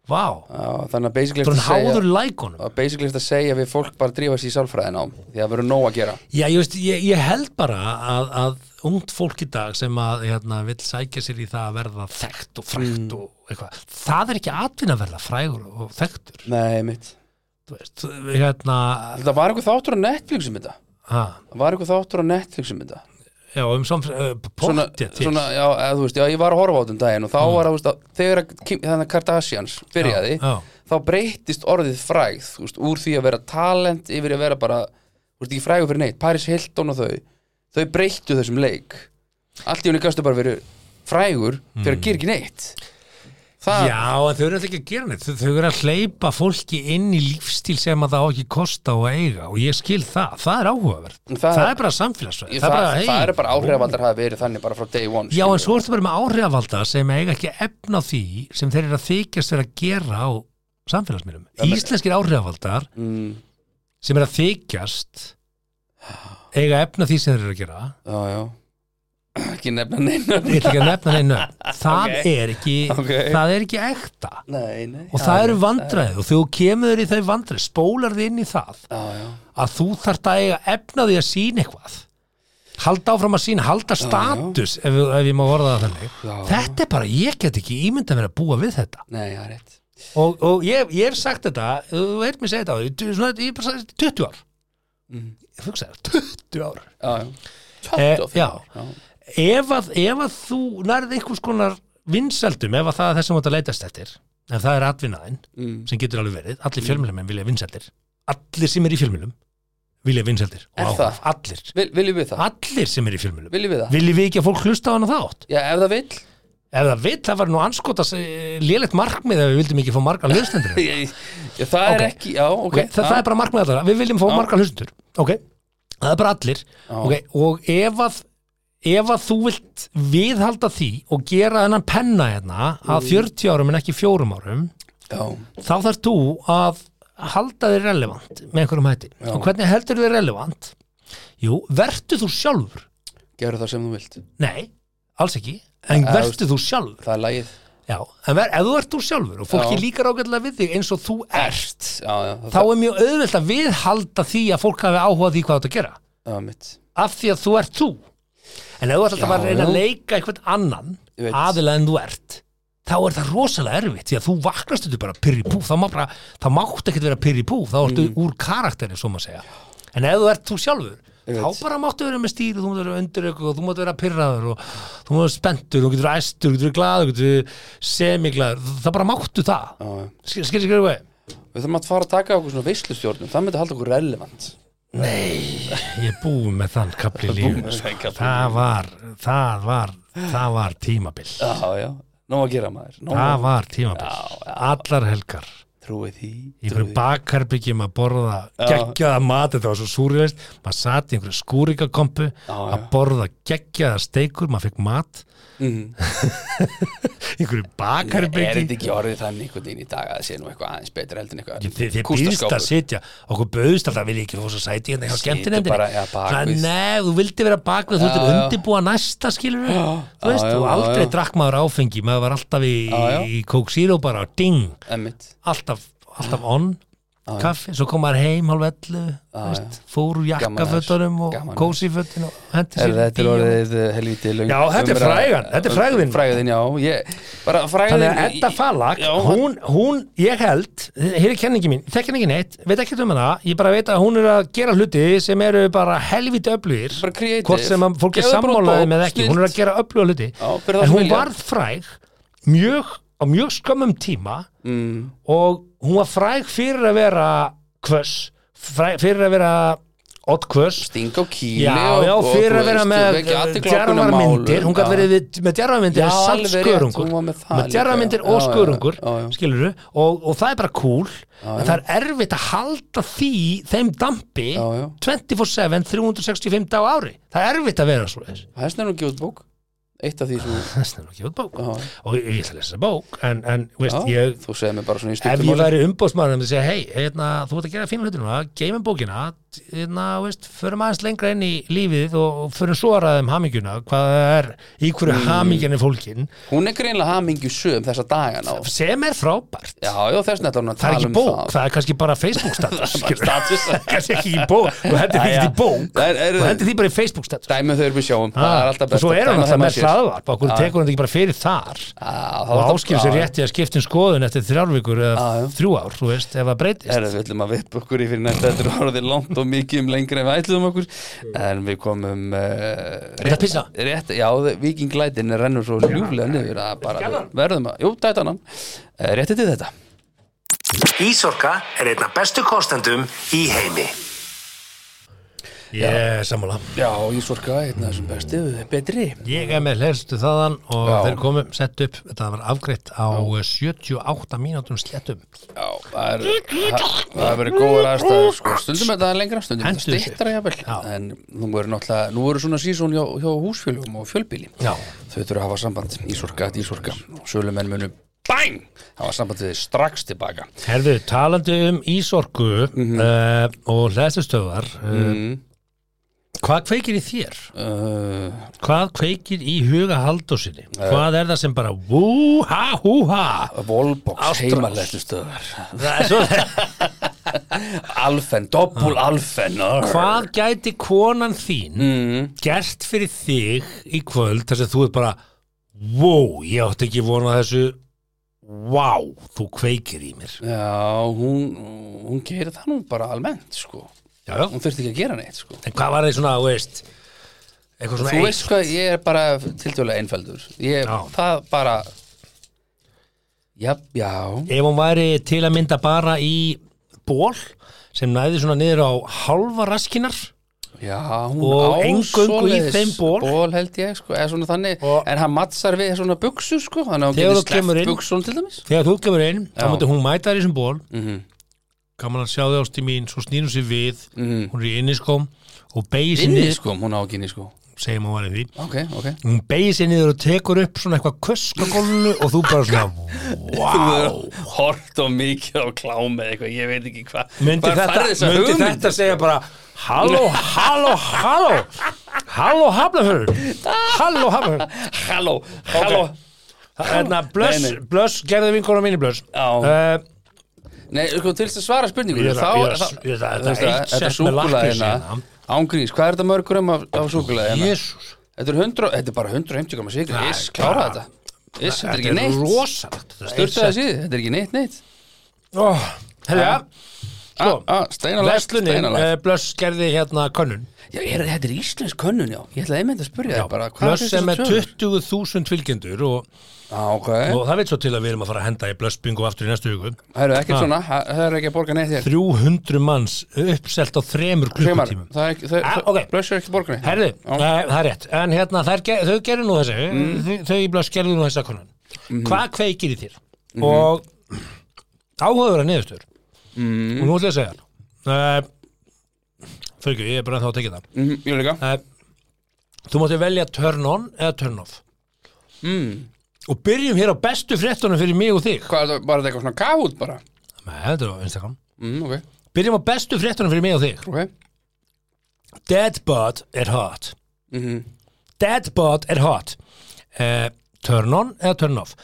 vá,
já, þannig að basically eftir
bara
að
háður
segja,
lækunum
að basically eftir að segja við fólk bara drífa sér í sálfræðin á, því að verður nóg að gera.
já, ég, veist, ég, ég held bara að, að ungt fólk í dag sem að hérna, vill sækja sér í það að verða þekkt og frægt
Mm.
og eitthvað það er ekki atvinna að verða frægur og þekktur
Nei, mitt.
þú veist, hérna
Þetta var eitthvað þáttur á Netflix um þetta.
ha,
Það var eitthvað þáttur á Netflix um þetta.
já, um samfélag
Svona, svona, já, eða, þú veist, já, ég var að horfa á þetta um daginn og þá var, þú veist, að, þegar að Kim- þannig að Kardashians byrjaði,
Mm. já.
þá breyttist orðið frægð þú veist, úr því að vera talent yfir að vera bara, þú veist ekki frægur fyrir neitt Paris Hilton og þau, þau breyttu þessum leik allt í henni gastu bara verið frægur fyrir að gera ekki neitt það,
Mm. Já, en þau eru alltaf ekki að gera neitt. Þau, þau eru að hleypa fólki inn í lífstíl sem að það á ekki kosta og eiga og ég skil það. Það er áhugavert.
Það-
Það, er bara samfélagsverð.
ég, það, það,
hey,
eru bara áhrifaldar hafa verið þannig bara frá day one
Já,
skilur.
en svo ertu bara með áhrifvalda sem eiga ekki efna á því sem þeir eru að þykjast vera að gera á samfélagsmiðlum. Íslenskir áhrifvaldar
mm,
sem eru að þykjast eiga efna á því sem þeir eru að gera
já, já. ekki nefna neina
ég ætla ekki að nefna neina það, er ekki,
Ok.
það er ekki ekta
nei, nei,
og
já,
það eru
já,
vandræði og þú kemur í þau vandræði spólar þið inn í það
já, já.
að þú þarft að eiga efna á því að sína eitthvað halda áfram að sína, halda status ef, ef ég má orða það þannig
Já.
þetta er bara, ég get ekki ímynda mér að búa við þetta
nei, það er rétt
og, og ég, ég hef sagt þetta þú veit mér segja þetta á því, du- svona, ég hef bara sagt 20 ár
Mhm.
ég fugsa það, 20 ár
já, já.
Eh,
25
já.
ár, já.
ef að, ef að þú nærði einhvers konar vinsældum ef að það er þess að mátt að leitast eftir ef það er atvinnaðin
Mm.
sem getur alveg verið allir fjölmjölumenn vilja vinsældir allir sem er í fjölmjölum vilja vinsældir
Er
og
það?
áhrif, allir
Vil, viljum við það?
allir sem er í fjölmjölum
viljum við það?
viljum við ekki að fólk hlusta á hana þátt
já, ef það vill
ef það vill, það var nú anskotas eh, lélegt markmið ef við vildum ekki fá marga hlustendur okay,
Ég- já, það er
Ok.
ekki, já, ok
það, það er bara markmið allra, við viljum fá
Já.
marga hlustendur ok, það er bara allir
já,
okay, og ef að ef að þú vilt viðhalda því og gera þennan penna hérna að 40 árum en ekki fjórum árum
já,
þá þarf þú að halda þér relevant með einhverjum hætti
Já.
og hvernig heldur þér relevant jú, vertu þú sjálfur
gerðu það sem þú vilt
nei, alls ekki en
Ja,
vertu þú sjálfur
það er lagið
já, en ver, ef þú ert þú sjálfur og fólki
Já.
líkar ágætlega við þig eins og þú ert
já, já,
þá er mjög auðvelt að viðhalda því að fólk hafi áhuga á því hvað þú átt að gera
já, mitt
af því að þú ert þú en ef þú ætlar
Já,
alltaf bara að reyna að
já.
leika einhvern annan
Ég veit.
aðilega en þú ert þá er það rosalega erfitt því að þú vaknast þetta bara pyrr í pú þá, má bara, þá mátt ekkert vera pyrr í pú þá ertu
Mm.
úr karakterinu svo maður segja en ef þú ert þú sjálfur
Ég
þá
veit.
bara máttu vera með stíl og þú máttu vera undir ykkur og þú máttu vera pyrraður og þú máttu vera spenntur og þú getur verið æstur, þú getur verið glaður, þú getur verið semiglaður það bara máttu það
já, já.
skilur skilur skilur hvað
við þurfum að fara að taka okkur svona veislustjórnum það myndi halda okkur relevant
Ég er búið með þann kapli
er búinn
lífun
með þann
sko.
kafla í
það, var, það var það var tímabil
já, já, nóg að gera maður nóg
það
að-
var tímabil
Já, já.
allar helgar
trúið því
í
trúið
einhverju bakherbyggjum að borða geggjaða mat, þetta var svo súriðist maður satt í einhverju skúrikakompu
Já, já.
að borða geggjaða steikur maður fekk mat
því. Mhm.
í einhverju
er þetta
bakherbyggi
ekki orðið þannig einhvern veginn í dag að það sé nú eitthvað aðeins betra heldur en eitthvað
Þið, þið býðst
kústaskápur?
að sitja, okkur bauðst alltaf vil ég ekki fá svo sæti hérna hjá
Situr bara, já, bakvið.
skemmtinefndinni Nei, þú vildi vera bakvið, þú vildi
Já, já.
undibúa næsta skilur
Já,
þú veist,
já, já,
og aldrei
já.
drakk maður áfengi maður var alltaf í,
Já, já.
í Coke Zero bara, ding,
Einmitt.
alltaf, alltaf on kaffi, svo kom maður heim hálf ellu, þú veist, fór
Gaman að
úr
þessu,
jakkafötunum og
gaman að
kósifötun og hendi
Er
sér í
þetta er
bíó.
orðið helviti löng
Já, þetta er
umræða.
frægan, þetta er frægðin.
Frægðin, já ég, Bara frægðin
Þannig að Edda Falag,
Já,
hún, hún, ég held, hér er kenningi mín, þekk henni ekki neitt, veit ekki um hana, ég bara veit að hún er að gera hluti sem eru bara helviti öflugir,
Bara creative.
hvort sem að fólk er
Gefðu bara út
sammálaði
bók,
með ekki,
snilld.
hún er að gera öfluga hluti,
Já, fyrir þá
en
sem
hún
vilja.
varð fræg mjög, á mjög skömmum tíma
mm,
og hún var fræg fyrir að vera kvöss, fræg, fyrir að vera odd kvöss,
Sting á kíli
Já,
og,
já,
og,
fyrir
þú
að vera
veist,
með
vekja athygli á ákveðnum
djarfarmyndir, hún
málum.
gætt
Já.
verið við- með djarfarmyndir
Já,
er samt
alveg rétt, hún var
skörungur,
með það
með
líka,
djarfarmyndir
já,
og
já, já,
skörungur,
já, já.
skilurðu, og, og það er bara cool, en
já.
það er erfitt að halda því þeim dampi
Já, já.
24-7, 365 dag á ári, það er erfitt að vera svo þess.
Það er snurrum gjóð bók Eitt af því sem
Það er snarlega ekki út bók,
Já.
og ég ætla að lesa bók, en, en veist,
já,
ég,
Þú segir mér bara svona í
ef
stuttum
ég
máli.
væri umbóðsmaður og segja, hei, hérna, þú ert að gera fínu hlutina geymum bókina, hérna, veist förum aðeins lengra inn í lífið og og förum svo að ræðum hamingjuna, hvað það er í hverju mm. hamingjan er fólkin
Hún er greinlega hamingju söm þessa dagana og-
sem er frábært,
Já, já, þess vegna ætlar hún að
það er
tala
ekki
um
bók
það.
það. er kannski bara Facebook status skilur.
status.
kannski ekki í bók, þú hendur því
Jæja.
ekki í bók
Það er- er-
þú hendur því bara í Facebook status
Dæmið um þau eru við sjáum Það er alltaf
Ah, og
best
svo
að
er
dæma
hann alltaf
heima
með
sér.
hlaðvarp okkur tekur hann þetta ekki bara fyrir þar
Já, þá er
og
þetta-
áskil sér
já,
rétti að skipta um skoðun eftir þrjárvíkur eða
Já, Eh, já.
þrjú ár, þú veist, ef það breytist
Herra, við ætlum að vipa okkur í fyrir næsta Þetta er orðið langt og mikið um lengra en við ætlum okkur En við komum uh,
Þetta pissa?
Rétt, já, vikinglætin rennur svo ljúflega niður að bara við verðum að, jú, dæta hann uh, Rétti til þetta
Ísorka er einn af bestu kostendum í heimi.
Ég er sammála
Já, ég sorka einn af þessum bestu, betri
Ég er með hlerstu þaðan og
Já.
þeir komu sett upp, þetta var afgreitt á eh, 78 mínútum sléttum
Já, það er það- það er verið góður aðstæður sko. stundum er þetta lengra, stundum er
Hentu
þetta
sér.
stittra jafnvel en nú eru náttúrulega, nú eru svona sísón hjá, hjá húsfjölum og fjölbíli
Já.
þau þurfa að hafa samband, ísorka, ísorka og sölumenn munu BANG hafa samband við þið strax tilbaka
Herðu, talandi um ísorku mm
Mhm.
og hlerstustöðar uh, Hvað kveikir í þér?
uh,
Hvað kveikir í huga haldósinni?
Eh.
Hvað er það sem bara vúha húha?
Volbox,
Ástrós.
heimalæstu stöðar
Það er svo
Alfen, doppul alfen ah.
Hvað gæti konan þín
Mhm.
gert fyrir þig í kvöld þess að þú er bara wow, ég átti ekki vona þessu wow, þú kveikir í mér
Eh. Já, hún, hún gerir það nú bara almennt sko,
já, já.
hún þurfti ekki að gera neitt sko
en hvað var þið svona, þú veist eitthvað svona
Þú
eitt-
veist hvað, ég er bara tiltölulega einfældur Ég,
Já.
það bara Já, já
ef hún væri til að mynda bara í ból sem næði svona niður á hálfa raskinar
Já, hún
Og
á
eingöngu í
svoleiðis
þeim ból.
held ég, sko, eða svona þannig
Og-
En hann mattsar við svona buksu, sko Þannig að hún
Þegar
getur
þú kemur
sleppt
inn-
buksun til dæmis
þegar þú kemur inn, þá
Já.
myndi hún mæta þér í þessum ból
Mhm.
gaman að sjá þig ástu mín, svo snýr hún sér við
Mhm.
hún er í inniskóm og beigir sér
Inni,
niður,
sko, hún á ekki inni, sko
segjum hún var í því
Ok, ok
hún beigir sér niður og tekur upp svona eitthvað kösk á gólfinu og þú bara svona wow
Hort og mikið á klám eða eitthvað, ég veit ekki hvað
myndi
Hvar
þetta,
færðu þessa
myndi
hugmynd?
þetta segja bara halló, halló, halló halló hafnafjörður halló hafnafjörður
Halló, halló
hérna blöss,
Nei, nei.
blöss, gerði vinkona mín í blöss
Já.
uh,
Nei, sko, til þess að svara
Ég
spurningunum
er að-
þá,
ég er að-
þá-
ég er að-
þú veist
það er
að-
eitt
Þetta
sett með
súkkulaði
lakkrísina.
hérna Ángríns, hvað er þetta mörgurum af, af súkulega hérna?
jésús
Þetta er, 100, þetta er bara 150 gammal sigur
Það er
Iss, klára
bara-
þetta Iss, þetta er
þetta
ekki
er
neitt
rosalegt þetta er eitt
Sturtaði
sett.
síði, þetta er ekki neitt, neitt
Ó, herra,
Sko, steinalægt,
verslunin
steinalægt
eh, blöss gerði hérna könnun
Já, er, þetta er íslensk könnun, já Ég ætlaði einmitt að spurja þér bara hvað
blöss
finnst
sem
þér
er
um tölur?
20.000 fylgjendur og,
Já, Ah, ok
og það veit svo til að við erum að fara að henda í blöss bingo aftur í næstu hugum
Það eru ekkert
Ha.
svona, það það eru ekki að borga neitt hér
300 manns uppselt á þremur
Hreimar,
klukkutímum
það er ekki, þau,
Ah,
ah,
ok.
blössur ekki að borga neitt
Herðu,
Já. Mhm.
eh, það er rétt En hérna, þær, ge- þau gerir nú þessi þau, þau í blöss gerðu nú þessa konan Hvað kveikir í þér?
Mhm.
Og áhugaður að niðurstur
Mhm.
Og nú ætla ég að segja uh, Þau ekki, ég er bara ennþá að tekja það
Mhm, Ég líka
uh, Þú mátti velja turn on eða turn off mm.
Mhm.
Og byrjum hér á bestu fréttunum fyrir mig og þig
Hvað, er þetta- var þetta eitthvað svona kafút bara?
Nei, þetta er á Instagram
Mm, ok,
Byrjum á bestu fréttunum fyrir mig og þig
ok
Deadbot er hot
Mhm.
Deadbot er hot uh, Turn on eða turn off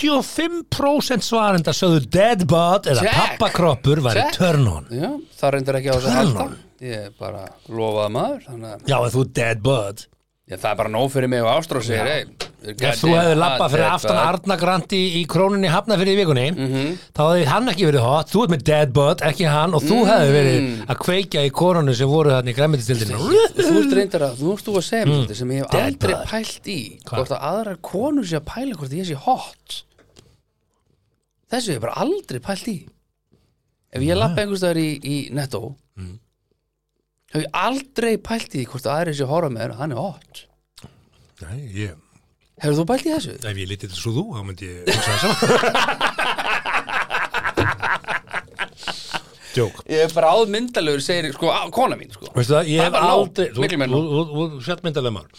75% svarenda sögðu Deadbot eða
Check.
pappakroppur væri
Check.
turn on
Já, það reyndar ekki á þessu
Turn
halda
on.
Ég er bara lofaða maður Þannig að
Já, ef þú Deadbot
Já, það er bara nóg fyrir mig og Ástrós segir hey,
Ef þú hefði labbað fyrir aftan Arna Grandi í krónunni hafnafyrir í vikunni
Mhm.
þá hefði hann ekki verið hot, þú ert með Deadbot ekki hann og þú hefði
Mm.
verið að kveikja í konunni sem voru þarna í græmitistildinu
Þú ert reyndar að, þú ert þú að segja mér svolítið sem ég hef
Mm. Dead
aldrei
bud.
pælt í Hvort að aðrar konur sé að pæla hvort ég sé hot Þessu hef ég bara aldrei pælt í Ef ég labba einhvers staðar í, í netto
Mm.
Hef ég aldrei pælt í hvort að aðrir sé að horfa með hann er hot
Nei, ég,
Hefur þú pælt í þessu?
ef ég lítið til svo þú, þá myndi ég hugsa það saman Jók
Ég er bara áðmyndalegur, segir sko, á- kona mín sko.
Veistu það, ég
Það
hef
var nóg,
aldrei Þú,
miklu meira Mm.
þú, þú, þú, þú sett myndalega maður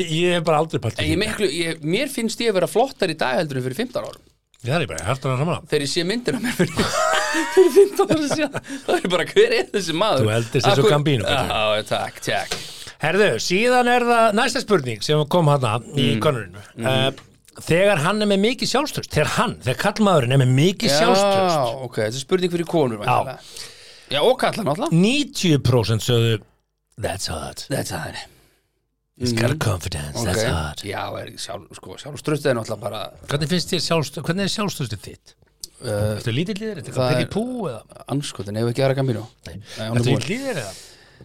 ég, ég hef bara aldrei pælt í
En ég
því.
miklu, ég, mér finnst ég að vera flottar í dag heldur en fyrir 15 árum
Það er ég bara, hættur hann saman
þegar ég sé myndir af mér fyrir, fyrir 15 árum síðan þá er ég bara, hver er þessi maður?
Þú eldist eins og
Akkur-
Gambino, Pétur.
Já, takk, takk
Herðu, síðan er það næsta spurning sem kom hana
Mm.
í konurinu uh, Þegar hann er með mikið sjálfstöðst Þegar hann, þegar kallmaðurinn er með mikið sjálfstöðst
Já, ok, þetta er spurning fyrir konur væntanlega. Já, og kallar náttúrulega
90% sögðu That's hot,
Þetta er það
it's got confidence, that's hot
Mhm. Ok, já, er sjálf, sko, sjálf struttið er náttúrulega bara
Hvernig finnst þér sjálfstöðst, hvernig er sjálfstöðstið þitt? Uh, Ertu lítill líður, ertu
Eh, það
eitthvað
er-
pekið pú eða?
anskotin, ef ekki aðra Gambino Nei, hún er
Ertu
búin.
lítill líður eða?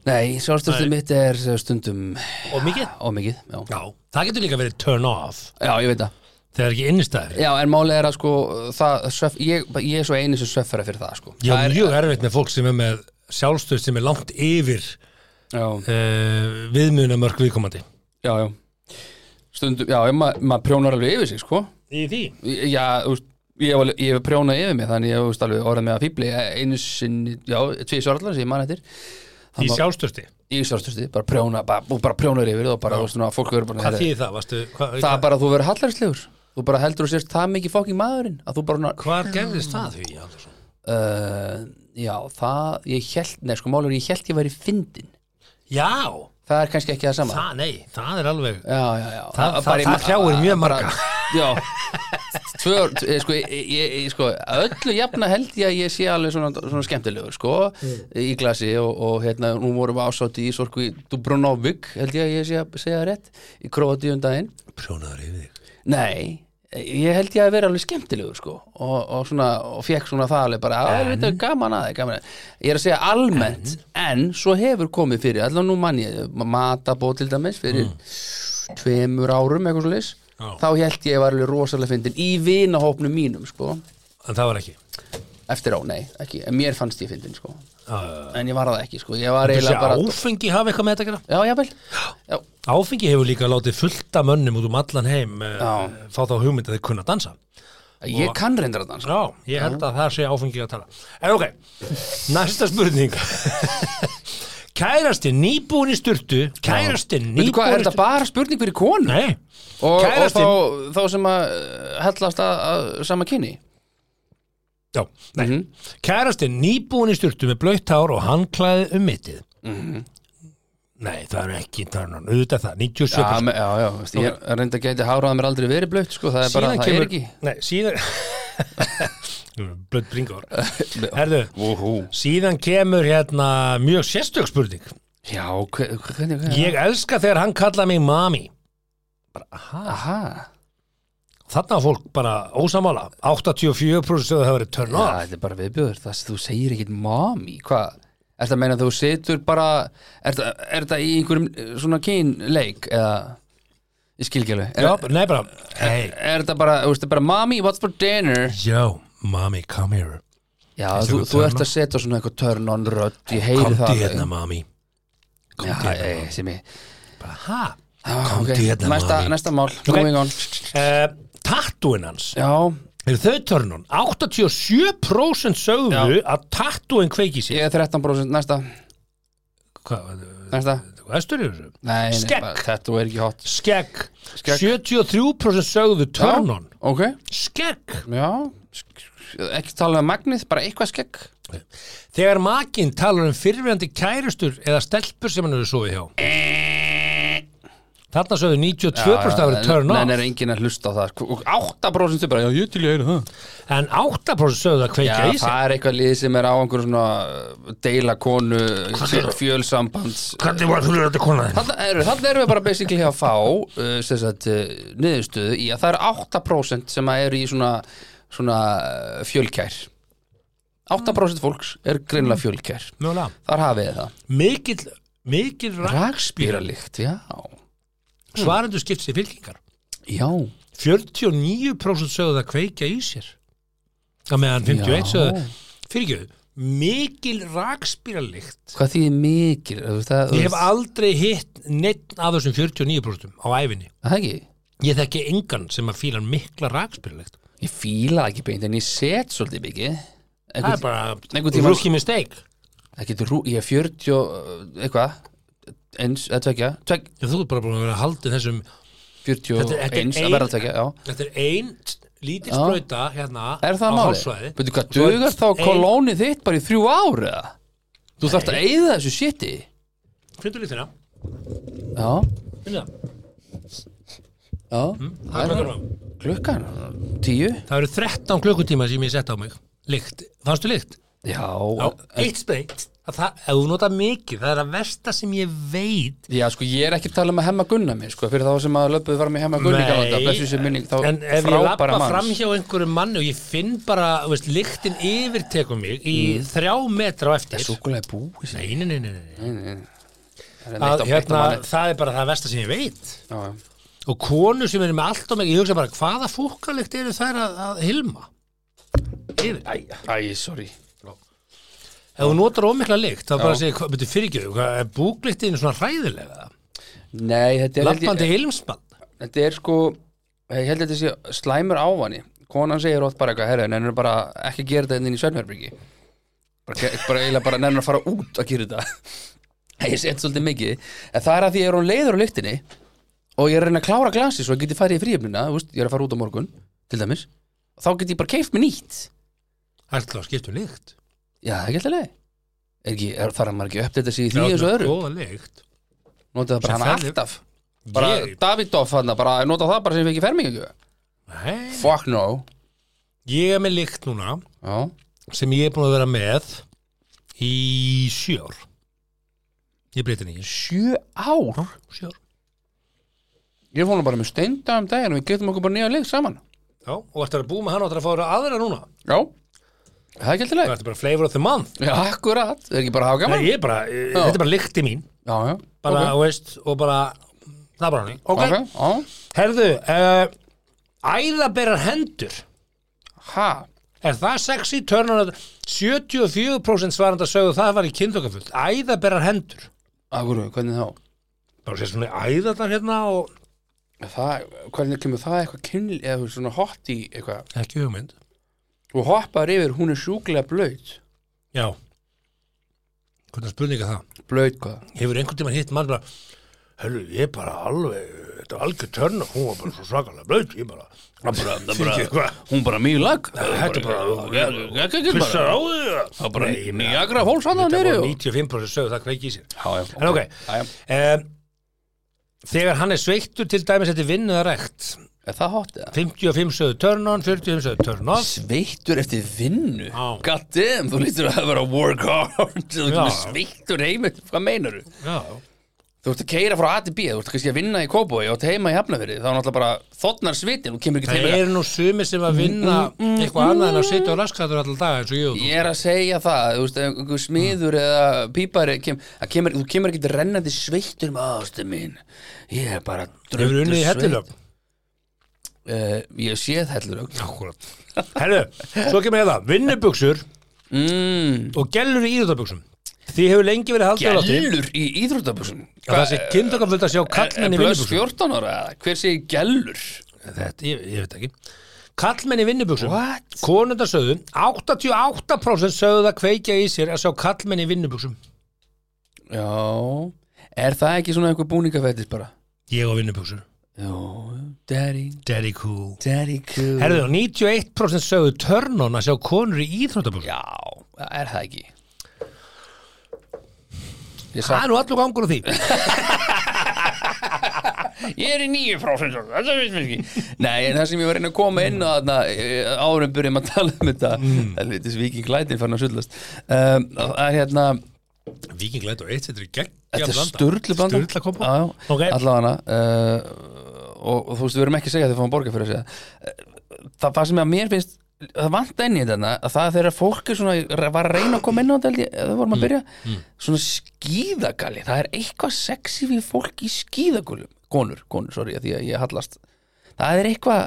Nei sjálfstruttið mitt er eh, stundum
Og mikið?
ómikið, já.
Já, það getur líka verið turn off
já, ég veit það
Þegar ekki innistæður
Já, en málið er að sko það, svef, ég, ég er svo eini sem sveffara fyrir það sko.
Ég
það
er mjög erfitt með fólk sem er með sjálfstöð sem er langt yfir
já,
uh, viðmunamörk viðkomandi
já, já. Stundum, já, ma- maður prjónar alveg yfir sig, sko
Í því?
Já, þú veist, ég hef, alveg- ég hef prjónað yfir mig þannig ég hef þú veist, alveg orðið með að fíbli einu sinni, já, tvið sörðlar sem ég man eftir
Í
Þannig að-
sjálfstösti?
í sörstusti, bara prjóna bara, og bara prjónar yfir og bara, þú veist, svona, fólk verður bara
Hvað
heyrðu,
þýðir það? Varstu, hva,
Eh, það er bara að þú verður hallarslegur þú bara heldur þú sérst það mikið fóking maðurinn að þú bara, svona,
Hvar gerðist það því, Andersson?
uh, já, það ég held, nei, sko, málur, ég held ég væri fyndin
Já,
það er kannski ekki það sama
það, nei, það er alveg
já, já, já
Það- það-
Eh, bara í
það
ma-
hrjáir mjög
bara-
marga.
já Tvö, eh, sko, ég, ég, ég- sko, að öllu jafna held ég að ég sé alveg svona, svona skemmtilegur sko, í glasi og, og hérna, nú vorum við ásátti í sorku í Dubronovic, held ég að ég sé að segja það rétt, í Króatíu um daginn
Prjónaður yfir þig
Nei, ég held ég að vera alveg skemmtilegur sko og, og svona, og fekk svona það alveg bara, en, þetta er gaman aðeins, gaman aðeins Ég er að segja almennt, en, svo hefur komið fyrir, allan nú mann ég matabóð til dæmis fyrir Mm. tveimur árum, eitthvað svo leis
Já.
þá held ég að var alveg rosalega fyndin í vinahópnum mínum sko
En það var ekki
eftir á, nei, ekki, en mér fannst ég fyndin sko
Uh,
en ég var það ekki sko, ég var
Þessi
eiginlega bara
áfengi hafa eitthvað með þetta að gera
Já, jável, já,
Áfengi hefur líka látið fullta mönnum út um allan heim uh,
Já.
fá þá hugmynd að þeir kunna dansa
ég kann reyndar sko. að dansa
Já, ég held að það sé áfengi að tala En ok, næsta spurning Kærasti nýbúin í styrtu Kærasti
Veitu hvað, er þetta
nýbúin í styrtu
bara spurning fyrir konu?
Nei,
og, og
Kærastinn.
þá, þá sem að uh, hellast að, að sama kynni
Já, nei.
Mhm.
Mm nýbúin í styrtu með blautt hár og handklæði um mittið.
Mhm.
Nei, það er ekki, það er nú auðvitað það, 97
já, me- já, já, veist, ég reynda að geti háraða mér aldrei verið blöitt sko, það er bara, það er ekki
Nei, síðan Blödd bringur Herðu,
Úhú.
síðan kemur hérna mjög sérstök spurning
já, hve- hvernig, hvernig
Ég elska þegar hann kallaði mig mami
aha,
Þarna var fólk bara ósamála 84% sem það hefur verið turn
já,
off
þetta er bara viðbjöður það sem þú segir ekkit mami, hvað Er þetta að meina að þú situr bara Er þetta- er þetta í einhverjum eh, svona kynleik eða í skilgjölu Er,
Já, nei bara, hei
er þetta bara, þú veist, bara Mami, what's for dinner?
Yo, mami, come here
Já,
Finnst
þú,
ykkur
þú
turn
ert
on?
að setja svona eitthvað turn on rödd, ég heyri
Komdu
það alveg.
hérna, mami
Já,
Komdu hérna,
eh, sem ég
bara, ha?
Ah,
Komdu
ok.
hérna,
næsta,
maður.
næsta mál, moving on
Uh, Tattúin hans
Já,
Er þau törnun? 87% sögðu að tattúin kveiki sér
ég er 13% næsta,
Hvað,
næsta
vestur í þessu?
Nei, nei,
Skegg.
bara, þetta er ekki hot
Skegg.
Skegg.
73% sögðu törnun.
Já, Ok,
Skegg.
já Sk- Ekki tala um magnið, bara eitthvað skegg
Þegar makinn talar um fyrirverandi kærustur eða stelpur sem hann eru sofið hjá. Þarna sögðu 92% að vera
Nei,
törnun.
nei, er enginn að hlusta á það sko. Og 8% er bara, já, ég til ég heyri það
En 8% sögðu að kveika
Já,
í sér.
það er eitthvað lið sem er á einhverjum svona uh, deila konu, fjölsambands
Hvernig var fyrirverandi konaðin?
Þannig erum, þannig erum við bara basically að fá uh, sem sagt, uh, niðurstöðu í að það er 8% sem að eru í svona, svona uh, fjölkær 8% fólks er greinlega fjölkær
Mjögulega.
Þar hafið þið það
Mikil, mikil rakspýrali.
Rakspíralikt, já
Svarendur skipt sér fylkingar.
Já,
49% sögðu að kveikja í sér að meðan 51
Já.
sögðu fyrirgjöðu mikil rakspíralikt
hvað þýðir mikil þú veist Það, þú
ég hef
veist,
aldrei hitt neitt af þessum 49% á æfinni
það ekki
ég þekki engan sem að fíla mikla rakspíralikt
Ég fíla það ekki beint en ég set svolítið mikið
það er
Einhvern-
bara
einhvern tímann-
rookie mistake
Það getur rú, ég er 40 og, uh, eitthvað eins, eða tvekja, tvek,
ég, þú er bara búin að vera að haldi þessum
40
Þetta- þetta er
eins
ein-
að verða tvekja, já
þetta er ein lítil
Já.
sprauta hérna
Er það
á
málið?
hálsvæði
Veitu hvað,
Svo er
dugar þá
ein-
kolónið þitt bara í þrjú ár eða? Þú þarft að eyða þessu shiti
finnstu lítina
Já,
finnstu það
já
Það er klukkan á.
Klukkan, tíu
það eru 13 klukkutíma sem ég sett á mig lykt, fannstu lykt?
Já,
Já, eitt sprengt að það, ef þú nota mikið, það er að versta sem ég veit
já, sko, ég er ekki að tala um að hemma gunna mig, sko Fyrir þá sem að löpuðu var með hemma gunni galanda Blessu sér minning, þá
en ef ég lappa
frábæra
fram
manns
hjá einhverju manni og ég finn bara, þú veist, lyktin yfirtekum mig í
Mm.
þrjá metra á eftir
Súkulega búið sér
nei, nei, nei, nei, nei.
Það er neitt
Að,
á beittu
hérna,
manni.
það er bara það versta sem ég veit
Já, já.
og konur sem eru með allt og mikið, ég hugsa bara hvaða fúkalikt eru þær að, að hilma yfir, æja
Æ, sorry
ef þú notar ómikla lykt þá bara segir, betur fyrirgjöðu, hvað er búklyktin svona hræðilega?
Nei, þetta er, held
Lampandi
ég,
ilmspann
þetta er sko ég held að þetta sé slæmur ávani konan segir ótt bara eitthvað, herra, nennir bara ekki að gera þetta hérna inn í Sveinherbyggi bara, ge- bara eiginlega bara nennir að fara út að gera þetta ég set svolítið mikið en það er að því ég er hún leiður á lyktinni og ég er að reyna að klára glasi svo ég geti farið í fríöfnina, veist, ég er að fara út á morgun til dæmis, þá get ég bara keift mér nýtt
Ætla að skipta um lykt
já, það er ekki alltaf leið Er ekki, er, þarf maður ekki að uppdata sig í því
Já,
eins og
þetta er
öðru
Góða lykt
nota það bara
Sem
hana
ferli-
alltaf bara
Ég,
Davidoff hann, bara nota það bara sem við ekki fermingu
nei,
fuck no
ég er með lykt núna
já,
sem ég er búin að vera með í sjór Ég breyti henni í
sjö ár
sjór
ég fór hann bara með steinda um daginn og við getum okkur bara nýja leik saman
Já, og ætlar að búa með hann og ætlar að fá þér aðra núna
já, það er ekki alltaf
Það
leið
ertu bara flavor of the month
já, akkurat, er ekki bara að hafa
Nei,
gaman
ég er bara, eh, þetta er bara lykti mín
já, já, ok,
bara, okay. veist, og bara það er bara hann
ok,
okay.
já
Herðu, uh, æðaberar hendur
ha,
Er það sexy törnun 74% svaranda sögðu það var í kynþokafullt Æðaberar hendur
akkur, hvernig þá
Bara sér svona æðarnar hérna og
það, hvernig kemur það eitthvað kynli eða svona hot í eitthvað
Ekki hugmynd
þú hoppar yfir, hún er sjúklega blöyt
Já Hvernig spurninga það?
blöyt hvað,
Hefur einhvern tímann hitt mann bara Hörru, ég er bara alveg, þetta er algjör törn hún var bara svo svakalega blöð, ég bara það bara, það bara, hvað,
hún bara mjög lag
þetta er bara pissar
pissar
á því það
bara Niagara Falls þarna
þetta
niðri
var
og-
95% sögðu það kveiki í sér En
en
ok, um, þegar hann er sveittur til dæmis þetta er vinnuða rekt
er það hot eða
55 sögðu turn on, 45 sögðu turn off
sveittur eftir vinnu
Já.
god damn, þú lítur að vera að work hard þú
Já.
lítur sveittur heim hvað meinaru?
Já,
Þú ert að keira frá A til B, þú ert kannski að vinna í Kóboi og átt heima í Hafnafyrði, þá er náttúrulega bara þotnar svitin, þú kemur ekki
það
til
eru nú sumi sem að vinna eitthvað annað en að sitja á raskatur allar daga eins og ég og þú
Ég er að segja það, þú veist, ef einhver smiður eða pípari, kem, að kemur, þú kemur ekki rennandi sveittur með ástu mín ég er bara drullu
Hefur unnið í
sveitt.
hellilöf
Eh, Ég hef séð hellulög
Akkurat Herru, svo kemur ég það, vinnubuxur
mm,
og gellur í íðutabuxum Því hefur lengi verið haldið á látti
Gellur í íþróttabuxum
að það sé kynntokafullt að sjá kallmenn í
Blöss
vinnubuxum
14 ára, eða? hver sé gellur?
Þetta, ég, ég veit ekki Kallmenn í vinnubuxum
What?
Konundar sögðu 88% sögðu það kveikja í sér að sjá kallmenn í vinnubuxum
Já, er það ekki svona einhver búningafættis bara?
Ég og vinnubuxur
Jó, daddy,
Daddy cool
daddy cool
Herðu, 91% sögðu törnun að sjá konur í íþróttabuxum
Já, er það ekki? Ég,
Það
sá,
er nú allur gangur á því
ég er í nýju prósent Þetta veist mér ekki Nei, en það sem ég var að reyna að koma inn á þarna eh, áður en byrjum að tala um þetta Það er litið svíking lætin fann að sullast um, Það er hérna
Viking Light og 1, þetta er geggja
Þetta er sturlu blanda
Sturla kombo
Já, já,
Ok.
allavega uh, og, og þú veist, við erum ekki að segja þegar fáum borga fyrir að segja Eh, það, það sem að mér finnst það vant enn í þetta að það þegar fólk er svona, var að reyna að koma inn á þetta held ég, þegar við
Mm,
vorum að byrja svona skíðagalli, það er eitthvað sexy við fólk í skíðagulum konur, konur, sorry, að því að ég hallast það er eitthvað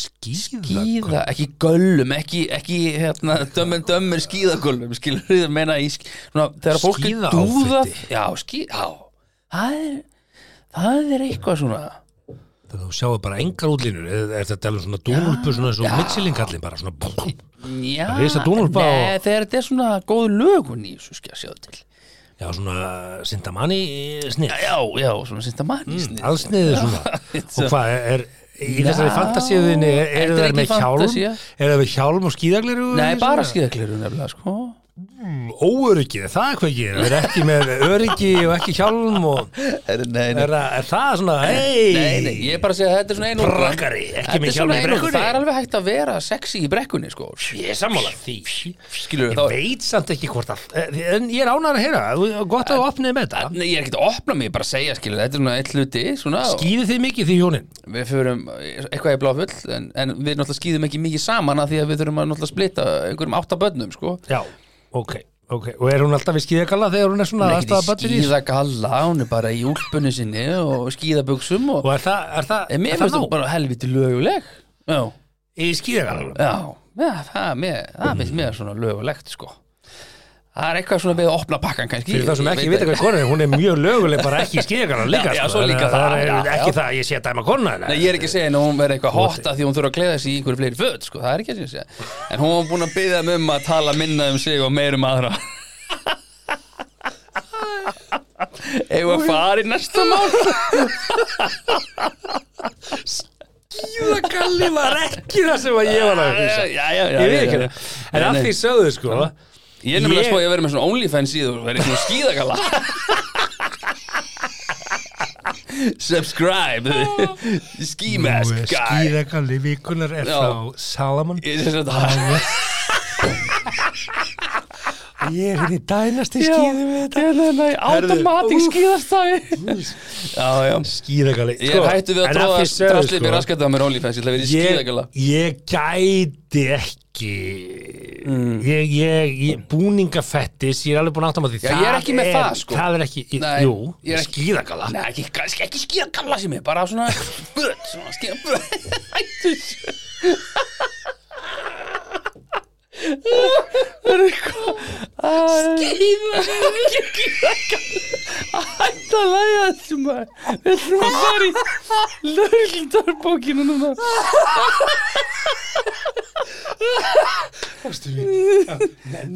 skíða, ekki göllum ekki, ekki hérna, dömmen dömmen skíðagölum, skilur við að meina í, sk- svona, þegar fólk er
Skíðaáfiti.
dúða já, skíð, já það er, það er eitthvað svona
Þú sjáu bara engar útlínur Er, er þetta alveg svona dúnulpu svona eins og mitchellingallin bara svona búm.
já,
Það er risa dúnúlpa
nei,
og-
þegar þetta er svona góð lögun í þessu skjá sjá til
Já, svona sindamanni snið
já, já, svona sínta manni mm,
Allsniðið svona
it's a-
Og hvað er, er í
Já,
þessari fantasíðinni
þetta
Eru
er
þeir
ekki
með hjálm
fantasía.
Eru þeir með hjálm og skíðaglir
nei, bara skíðagleru nefnilega, sko
Óöryggið, er það hvað ég er Er ekki með öryggi og ekki hjálm og
er, nei,
Er, það- er það svona, hei
Nei, nei, ég er bara að segja að þetta er svona einhver
Brakari, ekki með hjálm í brekkunni.
Það er alveg hægt að vera sexy í brekkunni, sko
Ég er sammála því
Skilur
Ég veit samt ekki hvort að En ég er ánægður að heyra, þú- gott að þú opnið með þetta
Nei, ég er ekkert að opna mig, ég er bara að segja, skilur, þetta er svona eitt hluti, svona,
Skýðið þið mikið því hjónin
við förum eitthvað í bláfull, en, en við náttúrulega skýðum ekki mikið saman að því að við þurfum að náttúrulega splita einhverjum átta börnum, sko.
Já, ok, ok Og er hún alltaf í skýðakalla þegar hún er
Hún
svona
er
aðstæða
ekkert
bættir
í
í þessu?
skýðagalla, hún er bara í úlpunni sinni og skýðabuxum og,
Og er það, er það,
en Eh, mér
er það
finnst það bara helviti löguleg. Já,
Í skýðakalla
já, já það, mér, það finnst mér svona lögulegt, sko. það er eitthvað svona við að opna pakkan kannski
Fyrir það sem
Ég
ekki
veit
vita hvað konan er, hún er mjög löguleg bara ekki skýðakana líka
Já, já,
sko.
svo líka
Þannig að
það,
er
já,
Ekki
já.
það að ég sé að dæma konan hennar.
Nei, ég er ekki að segja henni að hún verði eitthvað hotta því hún þurfa að gleða sig í einhverju fleiri föt, sko, það er ekki að segja En hún var búin að byggja um að tala minna um sig og meira um aðra Eigum að fara í næsta mál
Skýðakalli var ekki það sem að ég var að hugsa
Já, já, já,
Ég veit
já,
ekki
já.
það En
Nei,
að
nei.
því sögðu sko
Ég er nefnilega að
Ég-
spá ég að vera með svona OnlyFans síður og vera í svona skíðakalla Subscribe Ski mask guy
Skýðakalli vikunar er
Já.
frá Salomon
Ég sé þetta-
Ég er henni dænast í skýðum við þetta
Automatic skíðastæði Já, já
Skýðakalli
Ég er hættu við að tróða drastlið mér raskat á mér OnlyFans Ég ætla að vera í
sko. ég,
skíðakalla
ég gæti ekki
Mm.
ég, ég, ég búningafettis ég er alveg búin að átta maður því
Já, ég er ekki með það, sko.
það er ekki, ég,
Nei,
jú,
ég er ekki-
skýðagala
Nei, ekki, ekki, ekki skíðakalla sem ég Bara svona böt Svona skíðaböt Hættu þessu. Hættu að læja þessu maður Við þurfum að fara í Lörglindarbókinu núna
Ah,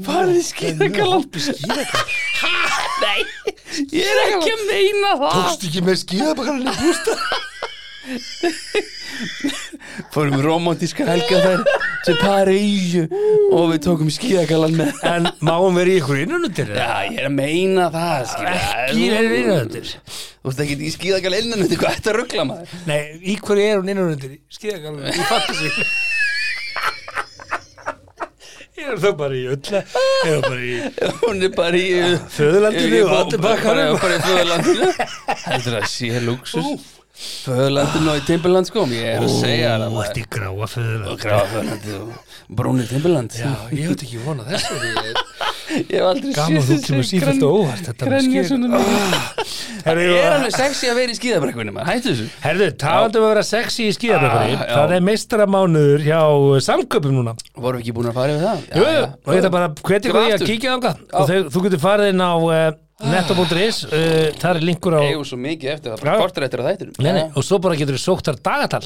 Farið í skíðakalan
skýðagala
Nei, ég er ekki að meina það
tókst ekki með skýðagala
Fórum romantíska helga þær til París og við tókum skíðakalan með
en máum verið í ykkur innanundir eða?
Já, ég er að meina það
ekki er innanundir
Þú veist ekki í skíðakala innan Þetta er þetta ruggla maður
Nei, í hverju er hún innanundir? Skýðakalum, ég fatt þessi Ég er þó bara í öll Ég er bara í
Hún er bara í
Föðurlandinu
Ég-
og allir
Bara
bakkarum
bara í föðurlandinu Heldur að sé luxus Föðurlandinu og í Timberland sko Ég er að segja það
Þú
maður.
ert í gráa föðurland
Gráa föðurlandi og brúnið Timberland
Já, ég hef ekki vonað þessu
Ég hef aldrei
Gaman
séð
þú
þessu
kemur sífellt
grann-
á óvart Þetta með Ah.
grenja
skýr
svona
Herðu,
Ég er alveg sexy að vera í skíðabrekkunni maður Hættu þessu
Herðu, talandum að vera sexy í skýðabækari
Ah, já.
Það er meistaramánuður hjá samköpum núna
Vorum við ekki búin að fara yfir það?
Jú, jú, og ég ætla bara hvetja ykkur í að
Aftur.
kíkja þangað og þau, þú getur farið inn á uh, netto.is, uh, þar er linkur á
Eigum svo mikið eftir það,
Já.
bara kortur eftir að þættir
Nei, nei, og svo bara getur þú sókt þar dagatal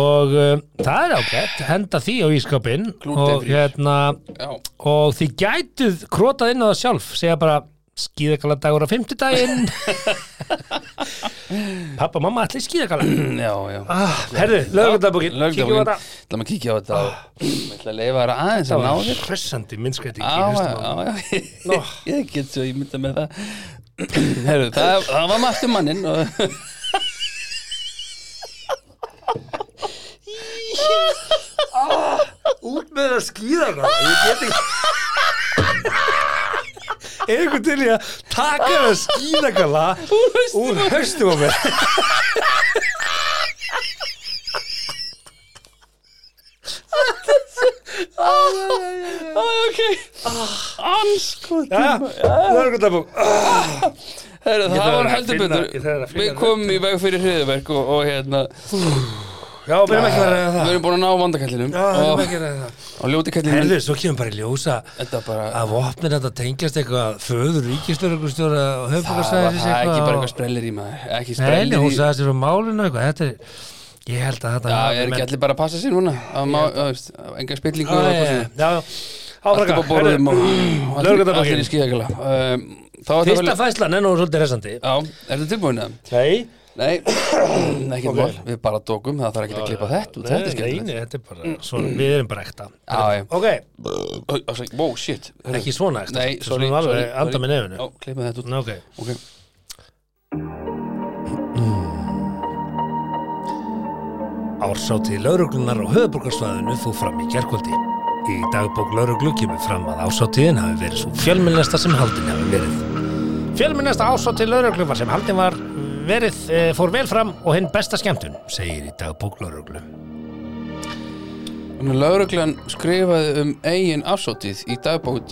og uh, það er ágætt henda því á ískapinn og,
Glútenfrítt.
hérna,
Já,
og þið gætuð krótað inn á það sjálf segja bara skýðakala dagur á fimmtudaginn pappa, mamma, allir skýðakala
já, já
ah, herðu, lögundabókin kíkjum
Lögdabókin,
á þetta Ah.
ætla maður að kíkja á þetta og- Ég ætla að leifa þér að aðeins að ná þér
hressandi minnskreiting
Já, já, já,
Nó.
ég get svo ímynda með það Herru, það, það var margt um manninn og...
út með það skýðakala ég get ekki er ykkur til ég að taka það skýðakala úr haustum á mér
Æ, ok Ah. Anskot
Lörgundabók
Herru,
Ég
það
þarf
var
að
heldur
finna- ég þarf að
betur
finna
Við komum í veg fyrir hriðuverk og, og hérna
Já, við erum ekki að ræða það
Við erum búin að ná vandakallinum
Já, við erum
og,
ekki að ræða það
og ljóti kallinum
Herðu, svo kemur bara í ljósa
Þetta bara
að vopnir þetta tengjast eitthvað föður ríkislörgustjóra og
Það var
höfbúkarsæðis
Ah, það er ekki bara eitthvað sprellir í maður Ekki
Nei,
sprellir
nei, hún
í
sagði sér á málinu eitthvað Þetta er, ég held að þetta
Já,
hafi
er ekki
menn-
allir bara að passa sér núna Að má, að veist, að Enga spillingu og
Já,
eitthvað
já,
svona.
Já,
Allt upp á borðum og
áfraka
allir- Allir í
Lörgundabókin
skíðakala Um, Þá er það
Fyrsta fæslan er nú svolítið resandi
Já, er þetta tilbúin að?
Nei,
Nei, ekkert mál Við bara dókum, það þarf ekki að klippa þetta út, Þetta er
Nei,
skemmtilegt
nei, þetta er bara, svona, við erum bara ekta
Já, já.
Ok,
Ó, ó, sorry, Wow, shit Hörru.
ekki svona ekta
Nei,
Svo
sorry,
skulum alveg
sorry
anda
sorry.
með nefinu.
Já, klippa þetta út
Ná, ok
Ok
Ársátti lauruglunar á höfuborgarsvæðinu fór fram í gerkvöldi. Í dagbók lauruglu kemur fram að ársáttiðin hafi verið svo fjölmennasta sem haldin hafi verið. Fjölmennasta ársátti lauruglu var sem haldin var verið e, fór vel fram og hinn besta skemmtun, segir í dagbók lauruglu.
Þannig að lauruglan skrifaði um eigin afsótið í dagbók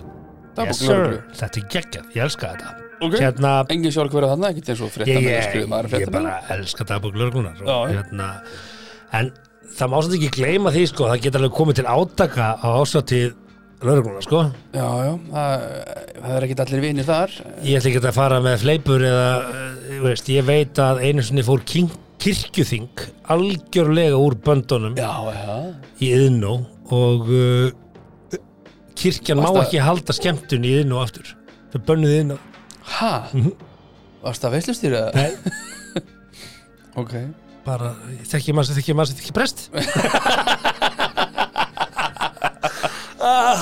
Dagbók lauruglu
Þetta er geggjað, ég elska þetta.
Ok.
Hérna,
Engin sjálf hverja þarna, ekkert eins og
ég,
fréttamenn að
ég,
skrifa maður
ég
fréttamenn
bara elska dagbók lauruglunar. og
Já, já.
Hérna, en það má samt ekki gleyma því sko, það geta alveg komið til átaka á ársáttíð lögregluna, sko
Já, já, það, það er ekkit allir vinir þar
Ég ætla ekki að fara með fleipur eða, eh, þú veist, ég veit að einu sinni fór king, kirkjuþing algjörlega úr böndunum
Já, já
í yðnó og uh, kirkjan má
Varstu að-
ekki halda skemmtun í yðnó aftur þau bönnuð yðnó
Ha? Varst það veislustýra?
Nei, Mhm.
Ok
bara, þekki maður sem þekki maður sem þekki prest ah,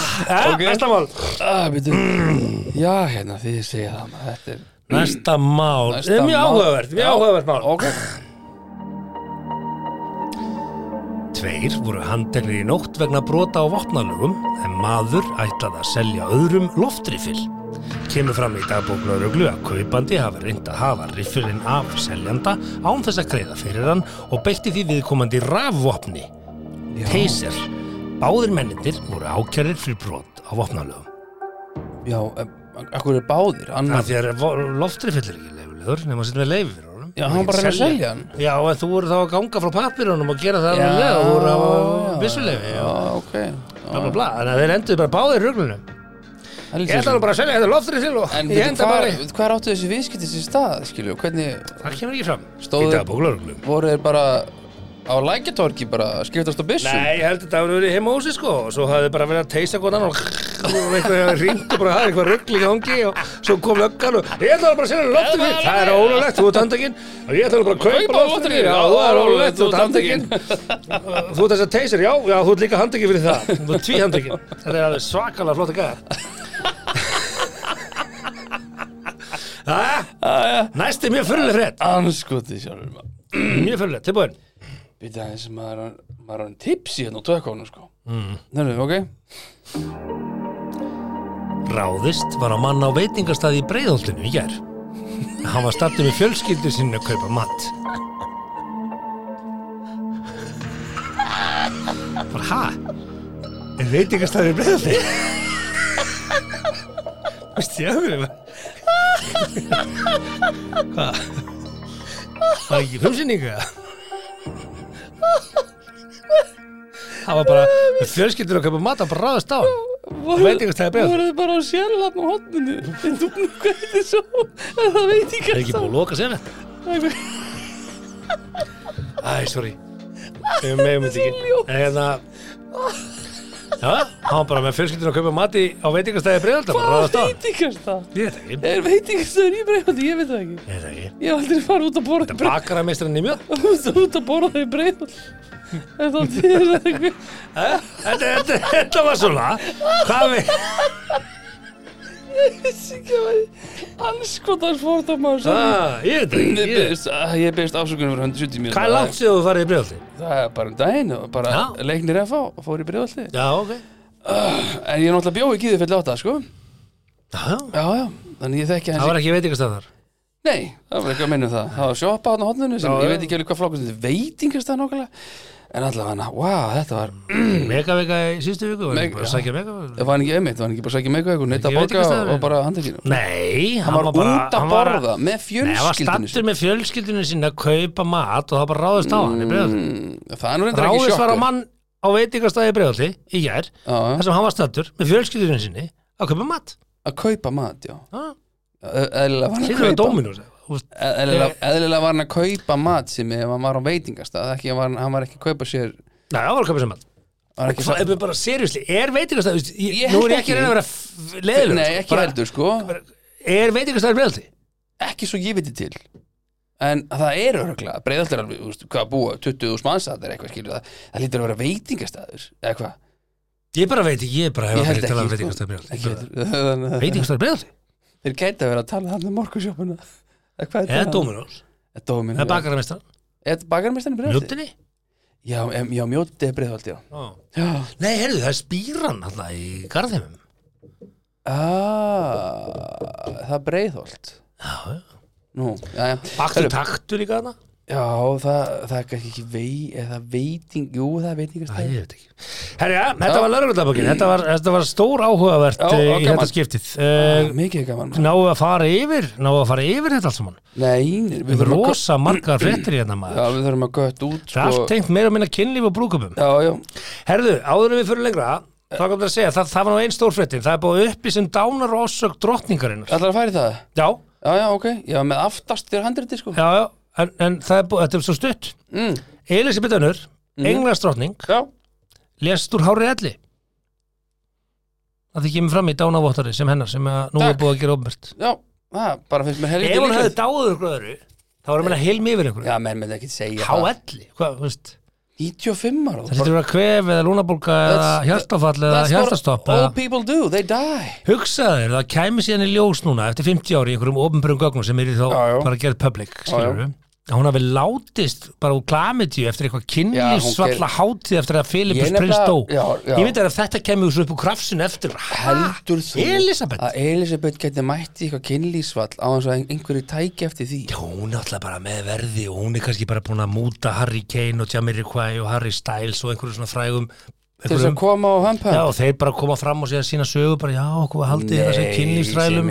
Ok.
okay. Næsta mál
ah, byrju.
Mm.
Já, hérna, því ég segja það maður, Þetta er
Næsta mál,
Næsta
Þetta er mjög
mál.
áhugavert mjög
Já.
áhugavert mál
Ok
Tveir voru handteknir í nótt vegna brota á vopnalögum en maður ætlaði að selja öðrum loftriffil. Kemur fram í dagbóknaruglu að kaupandi hafi reynd að hafa riffilinn af seljanda án þess að greiða fyrir hann og beitti því viðkomandi rafvopni,
Já.
teyser. Báðir mennindir voru ákjærir fyrir brot á vopnalögum.
Já, em, akkur er báðir
Það
Annar
því að loftriffil er ekki leifulegur nema sem við leifi fyrir honum.
Já, hann var bara að reyna að selja hann
Já, en þú voru þá að ganga frá papirunum og gera það alveg lega, þú voru að hafa vissuleifi.
Já, ok
bla, bla, bla. Þannig að þeir endur bara báðir röglunum. Ég ætla nú bara að selja þetta loftrið til og
En
ég
veitu,
enda bara í.
hvar, hvar áttu þessi viðskipti sér stað, skilju, hvernig
Það kemur ekki fram.
Stóðu-
Í dagbóklauglum.
voru þeir bara á lækjatorki bara að skiptast á byssum?
Nei, ég held að þetta hafi verið heima húsi sko og svo hafði bara verið að teista hvort annan og og einhver hefði ringt og bara hafði eitthvað ruggl í gangi og svo kom löggan og ég ætla bara að selja loftrið til það er ólulegt, þú ert handekinn og ég ætla bara að kaupa
Kaupa
loftrið
lotteríið,
já,
já,
þú er ólulegt, þú
ert
ert handekinn þú ert þess að teisir, já, já, þú ert líka handekinn fyrir það þú ert tví handekinn þetta er alveg svakalega flott að gæða Næsti mjög fyrirlega frétt
Anskoti sjálfur maður
Mjög fyrirlega, tilbúin
Býta aðeins, maður er maður er hann tipsi hérna á tökónu sko mm. Nörðu, ok
Ráðist var á mann á veitingastæði í Breiðholtinu í gær Hann var stattur með fjölskyldu sinni að kaupa mat Bara, hæ? Er veitingastæði í Breiðholtinu? Veist ég að mér Hvað? Var ekki frumsynningu eða? Það var bara með fjölskyldur að kaupa mat að bara ráðast á hann Veitingastæði í Breiðholtinu
Voru þið bara á sérlaðn á hotninu En þú nú hvað er þið svo En það veit ég
Er ekki búið að loka sér þetta?
ekki
Æ, sorry Ég meðum þetta ekki En hérna Já, hann var bara með fjölskyldinu að kaupa mati á veitingastæði breyðaldar Hvað
Hvað veit ég það?
Ég veit það ekki
Er veit ég það er í breyfandi, ég veit það ekki
Ég veit það ekki
Ég hef aldrei farið út að borða í breyfandi
Bakarameistarinn í mjög
Út að borða í breyfandi En þá týðir það ekki
þetta, þetta, þetta var svona Hvað við
Þessi ekki að væri anskotar fórtámaður sem
ah, Ég veit það ekki
Ég
ég-
byrðist, ég byrðist afsökunum fyrir 170 mínútur
Hvað er langt sér þú farið í breyðaldi?
Það er bara um daginn og bara
Já.
leiknir FH og fór í bregðaldi
Já, ok
En ég er náttúrulega bjóð í gíði fyrir láta, sko
Já,
Já, já, þannig ég þekki
það
hans
var ekki veitingastæðar
Nei, það var ekki að minna um það Það var sjoppa hann á hodninu sem
Já,
ég
já.
veit ekki alveg hvað flokkast þetta veitingast það nákvæmlega En allavega hana, wow, þetta var
Megavega í síðustu viku Var
Mm. Meg-
ekki bara að
já.
sækja megavega
Það var hann ekki einmitt, var hann ekki bara að sækja með eitthvað Neitt að
Ekki
borga
veitingastaður?
og bara handekinu
Nei,
Hann var
bara-
út að
hann var-
borða með
Nei, hann var
fjölskyldinu
stattur með fjölskyldinu sinni að kaupa mat og það bara ráðist á hann í bregðaldi
sinni. Það er nú reyndar Mm, ekki
Ráðist var á
sjokkur
mann á veitingastæði bregðaldi í gær
Já,
þar sem hann var stattur með fjölskyldinu sinni að kaupa mat
Að kaupa mat, já
Ha?
Eðlilega var hann að
Hlýtur að
kaupa
Dominos Úst,
eðlilega, eðlilega var hann að kaupa mat sem ef hann var á veitingastað ekki, hann, var, hann var ekki að kaupa sér
Nei, hann var að kaupa sér mat
var ekki
Það
að-
er bara seriously, er veitingastæði veist, ég,
Ég
Nú
held
er ég ekki
ekki.
að reyna að vera leðilega
Nei, ekki heldur sko
Er veitingastæði bregðaldi?
ekki svo ég viti til en það er öruglega, breiðalt er alveg þú veist, hvað að búa, 20.000 mannsaðar eitthvað skilur það, það lítur að vera veitingastaður eða hvað,
Ég bara veit ekki, ég bara hef
ég held
aldrei talað um
ekki,
veitingastæði
ekki
bregðaldi
heldur.
Veitingastæði bregðaldi?
þeir gæti að vera að tala hann um morgunsjópuna eða hvað
Eða Dominos?
Dómin
Eða Bakaramistan?
eða bakarmestinu breiðalt
Mjóttinni?
já, em- já, mjóti er breiðalt, já já,
Nei, heyrðu, það er spýran alltaf í garðheimum
ah, það er breiðalt
Já, já
nú, já, já
Baktur taktur líka þarna?
Já, það, það er kannski ekki vei, eða veiting, jú, það er
Æ,
veitingastæð
ég veit ekki. Herja, þetta var lauruglutabokkin, þetta, var- þetta var stór áhugavert
Já,
já,
já,
í
gaman.
þetta skiptið. Uh,
Mikið gaman maður.
náðu að fara yfir, náðu að fara yfir þetta allt saman.
Nei, við
Við erum
þurfum að,
rosa margar fréttir hérna
já,
maður.
við þurfum að gött út
Það er allt
sko.
tengt meira og minna kynlíf og brúkupum.
Já, já,
Herðu, áður en við fyrir lengra, þá kom það að segja, það, það var nú einn stórfréttin það er búið uppi sem dánar og ásök drottningarinnar
Ætlar að færi það?
já,
Já, já, ok, ég var með aftast fyrir handriti sko
já, já, en, en það er búið, þetta er svo stutt
mm.
Elisabeth Önur, mm. englarsdrottning
Já,
lest úr hári elli að því kemur fram í dánavottari sem hennar sem að nú
Takk.
er búið að gera ofnbært
já, það bara finnst mér helviti
ef hún hefði
líklegt.
dáið ykkur öðru þá var hann að heilmi yfir ykkur
Já, menn með ekki segja það.
háelli, hvað, þú veist
95 ára
það lítur að vera kvef eða lúnabólka eða
That's-
hjartafall eða
That's what
hjartastopp
all
eða
people do, they die
hugsaðu þér, það kæmi síðan í ljós núna eftir 50 ári í einhverjum ofnbærum gögnum sem er þá
Já, já.
bara að gera public skilur að hún hafi látist bara úr klamitíu eftir eitthvað kynlífsvalla hátíð eftir
Ég
að Filipus
nefnilega-
prins dó
já, já.
ég myndi að ef þetta kemur svo upp úr krafsinu eftir
Heldur þú
Elisabeth?
að Elisabeth geti mætt í eitthvað kynlísvall á hans að ein- einhverju tæki eftir því
hún er alltaf bara með verði og hún er kannski bara búin að múta Harry Kane og Jamiroquai og Harry Styles og einhverju svona frægum
til þess að
einhverjum,
koma á vampa
já, og þeir bara koma fram og segja sína sögu bara já, hvað haldið þér að segja kynlífsrælum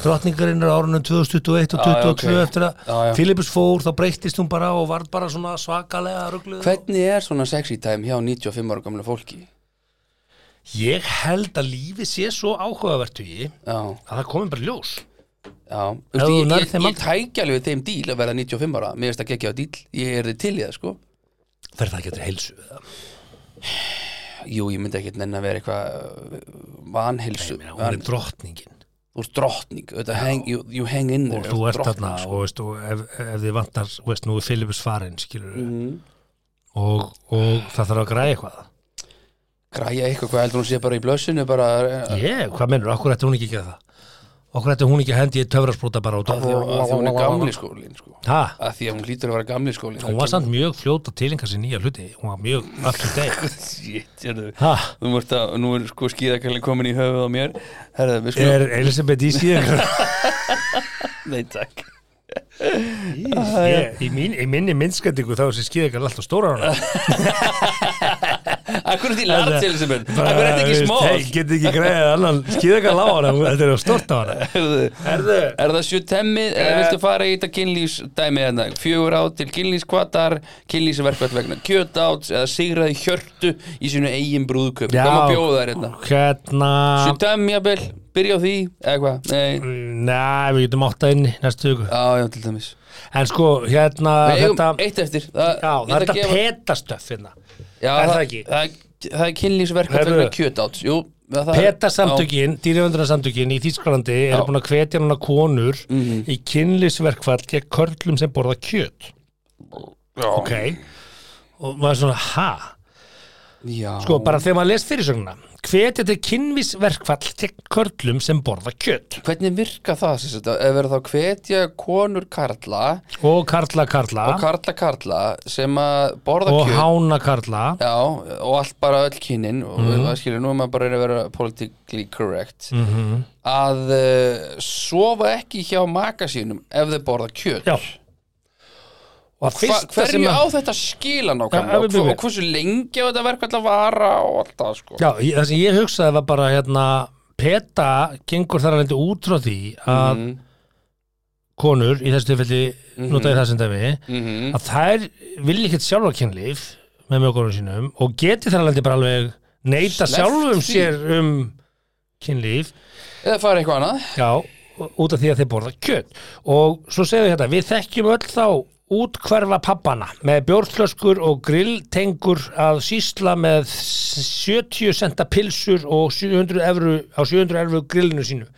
drottningarinnar á árunum 2021
Já,
og
já,
2022
ok.
eftir
Já,
að
já.
Philippus fór þá breyttist hún bara og var bara svona svakalega ruggluð
Hvernig er svona sexy time hjá 95 ára gamla fólki?
ég held að lífið sé svo áhugavert í
Já,
að það komi bara í ljós
já
Ef
Ústu,
þú
Ég,
nærð
ég,
þeim
ég tækja alveg þeim díl að verða 95 ára Mér veist að gegja á díl, ég er þið til í það sko
verð það getur heilsu við það
Jú, ég myndi ekkert nenni að vera eitthvað uh, vanheilsu
Ég meina, hún
Van-
er drottningin
Þú ert drottning, auðvitað hang, you, you hang in there
og þú ert
drottning,
þarna
sko.
og veist, og ef, ef þið vantar, og veist, nú er Filipus farinn skilur
Mhm.
og, og það þarf að græja eitthvað
Græja eitthvað, hvað heldur hún sé bara í blössinu bara, eh,
ég, hvað mennur, okkur ætti hún ekki að gera það okkur ætti hún ekki að hendi í töfrasprúta bara út
af því að af því að hún er gamli skólin sko.
ha,
að því að hún hlýtur að vera gamli skólin
hún var samt mjög fljót að tilinka sér nýja hluti hún var mjög up to date
Shit, hérðu
ha,
Nú ert að, nú er sko skíðakallin komin í höfuð á mér Herðu, við skulum
er Elisabeth í síðan
Nei, takk
ég, í, mín, í minni minnskendingu þá sem skýði ekki alltaf stóra hana
Akkur er því lart til þessum enn Akkur er
Bara,
þetta ekki
veist, hey,
smóð
get ekki græðið annan skýði ekki alltaf á hana þetta er stort á hana Herðu, Eh.
Er það sjötemmi, eða viltu fara í þetta kynlýsdæmi hérna, fjögur át til kynlýskvatar, kynlýsverkvætt vegna kjötáts eða sigraði hjörtu í sínu eigin brúðköp,
Já.
hvað maður bjóða þær hérna?
hérna
Sjötemmi, jafnvel, byrja á því, eða hvað? Nei,
Mm. Nei, við getum átt að inn í næstu viku
já, já, til dæmis.
En sko, hérna
Við eigum
þetta,
eitt eftir. Það,
já,
ég ætla
þetta
að gefa-
petastöf hérna.
Já,
Er það
það,
ekki?
það, það er kynlýsverkvætt
Herðu.
vegna kjötáts, jú. það- það-
Petasamtökin, dýrjöfundunarsamtökin í Þýskalandi eru
Já. Mhm.
búin að hvetja núna konur í kynlisverkfall gegn körlum sem borða kjöt
Já,
ok, og maður er svona ha,
já.
sko bara þegar maður les fyrirsögnuna hvetja til kynlisverkfall gegn körlum sem borða kjöt
Hvernig virka það, sem sagt, ef verða þá hvetja konur karla
og karla karla
og karla karla sem að borða
og
kjöt
hána karla
Já, og allt bara öll kynin og það skilur, nú er maður bara að reyna að vera politically correct
Mhm.
að uh, sofa ekki hjá maka sínum ef þau borða kjöt
já og að
Hva,
fyrsta sem
Hverju
að
á þetta skila
Ja,
nákvæmlega
við-
og, hva-
við-
og hversu lengi á þetta verkvæmt að vara og allt það sko
Já, ég, það sem ég hugsaði var bara hérna, PETA gengur þar að lendi út frá því að
Mhm.
konur í þessu tilfelli
Mhm.
notaði það sem dæmi
Mhm.
að þær vilja ekkert sjálfa kynlíf með mögunum sínum og geti þar að lendi bara alveg neita
Sleppt
sjálfum
því.
sér um kynlíf
Eða fara eitthvað annað
já, út af því að þeir borða kjöt og svo segir við þetta, við þekkjum öll þá útkverfa pappana með bjórflöskur og grilltengur að sýsla með 70 senta pilsur og 700 evru, á 700 evru grillinu sínu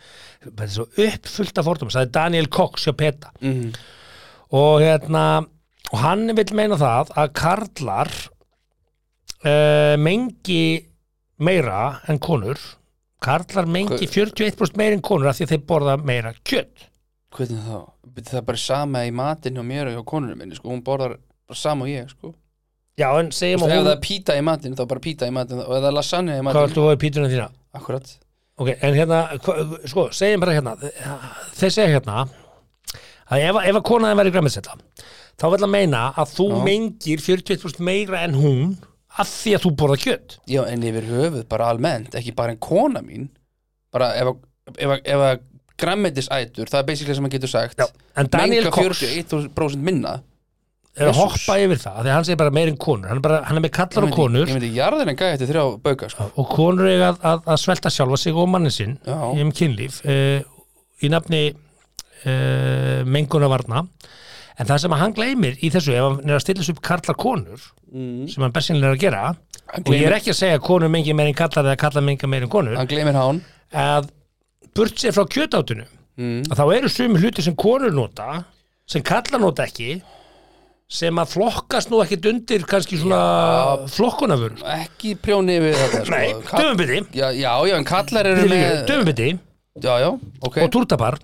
þetta er svo uppfullt af fordum það er Daniel Cox hjá PETA
Mhm.
og hérna og hann vil meina það að karlar uh, mengi meira en konur karlar mengi 41% meira en konur af því að þeir borða meira kjött
Hvernig þá? Bíddu, Það er bara sama í matinn hjá mér og hjá konunum minni sko, hún borðar bara sama og ég sko
já en segjum
Ef
að
það
hún
er pýta í matinn þá bara pýta í matinn og ef það er lasagna í
hvað
matinn
ertu að fá í pítunum þína
Akkurat
ok, en hérna, hva, sko, segjum bara hérna þeir segja hérna að ef, ef að konaðin væri græmiðsetta þá vil að meina að þú mengir 41% meira en hún af því að þú borða kjött
Já, en yfir höfuð bara almennt, ekki bara en kona mín bara ef að, ef að, ef að grammetisætur, það er basically sem maður getur sagt
en Daniel
menga
Cox
41% minna
er að hoppa yfir það, af því að hann segir bara meir en konur hann er, bara, hann er með kallar og konur
Ég myndi jarðin en gæði eftir þrjá bauka sko.
og konur eiga að, að, að svelta sjálfa sig og mannin sinn
Já.
í um kynlíf uh, í nafni uh, mengunarvarna en það sem að hann gleymir í þessu ef hann er að stilla þessu upp kallar konur sem hann bersinlega er að gera
Hann
og ég
Mm. gleymir-
er ekki að segja að konur mengi meir en kallar eða kallar mengi meir en konur
Hann gleymir hán
að burt sér frá kjötáttunum
Mm.
að þá eru sumi hluti sem konur nota sem kallar nota ekki sem að flokkast nú ekkit undir kannski svona sko. flokkunafur
Ekki prjóni yfir þetta sko.
Nei,
Kall-
döfumbiti
Já, já, já, en kallar eru með
döfumbiti
Já, já, ok
og túrtapar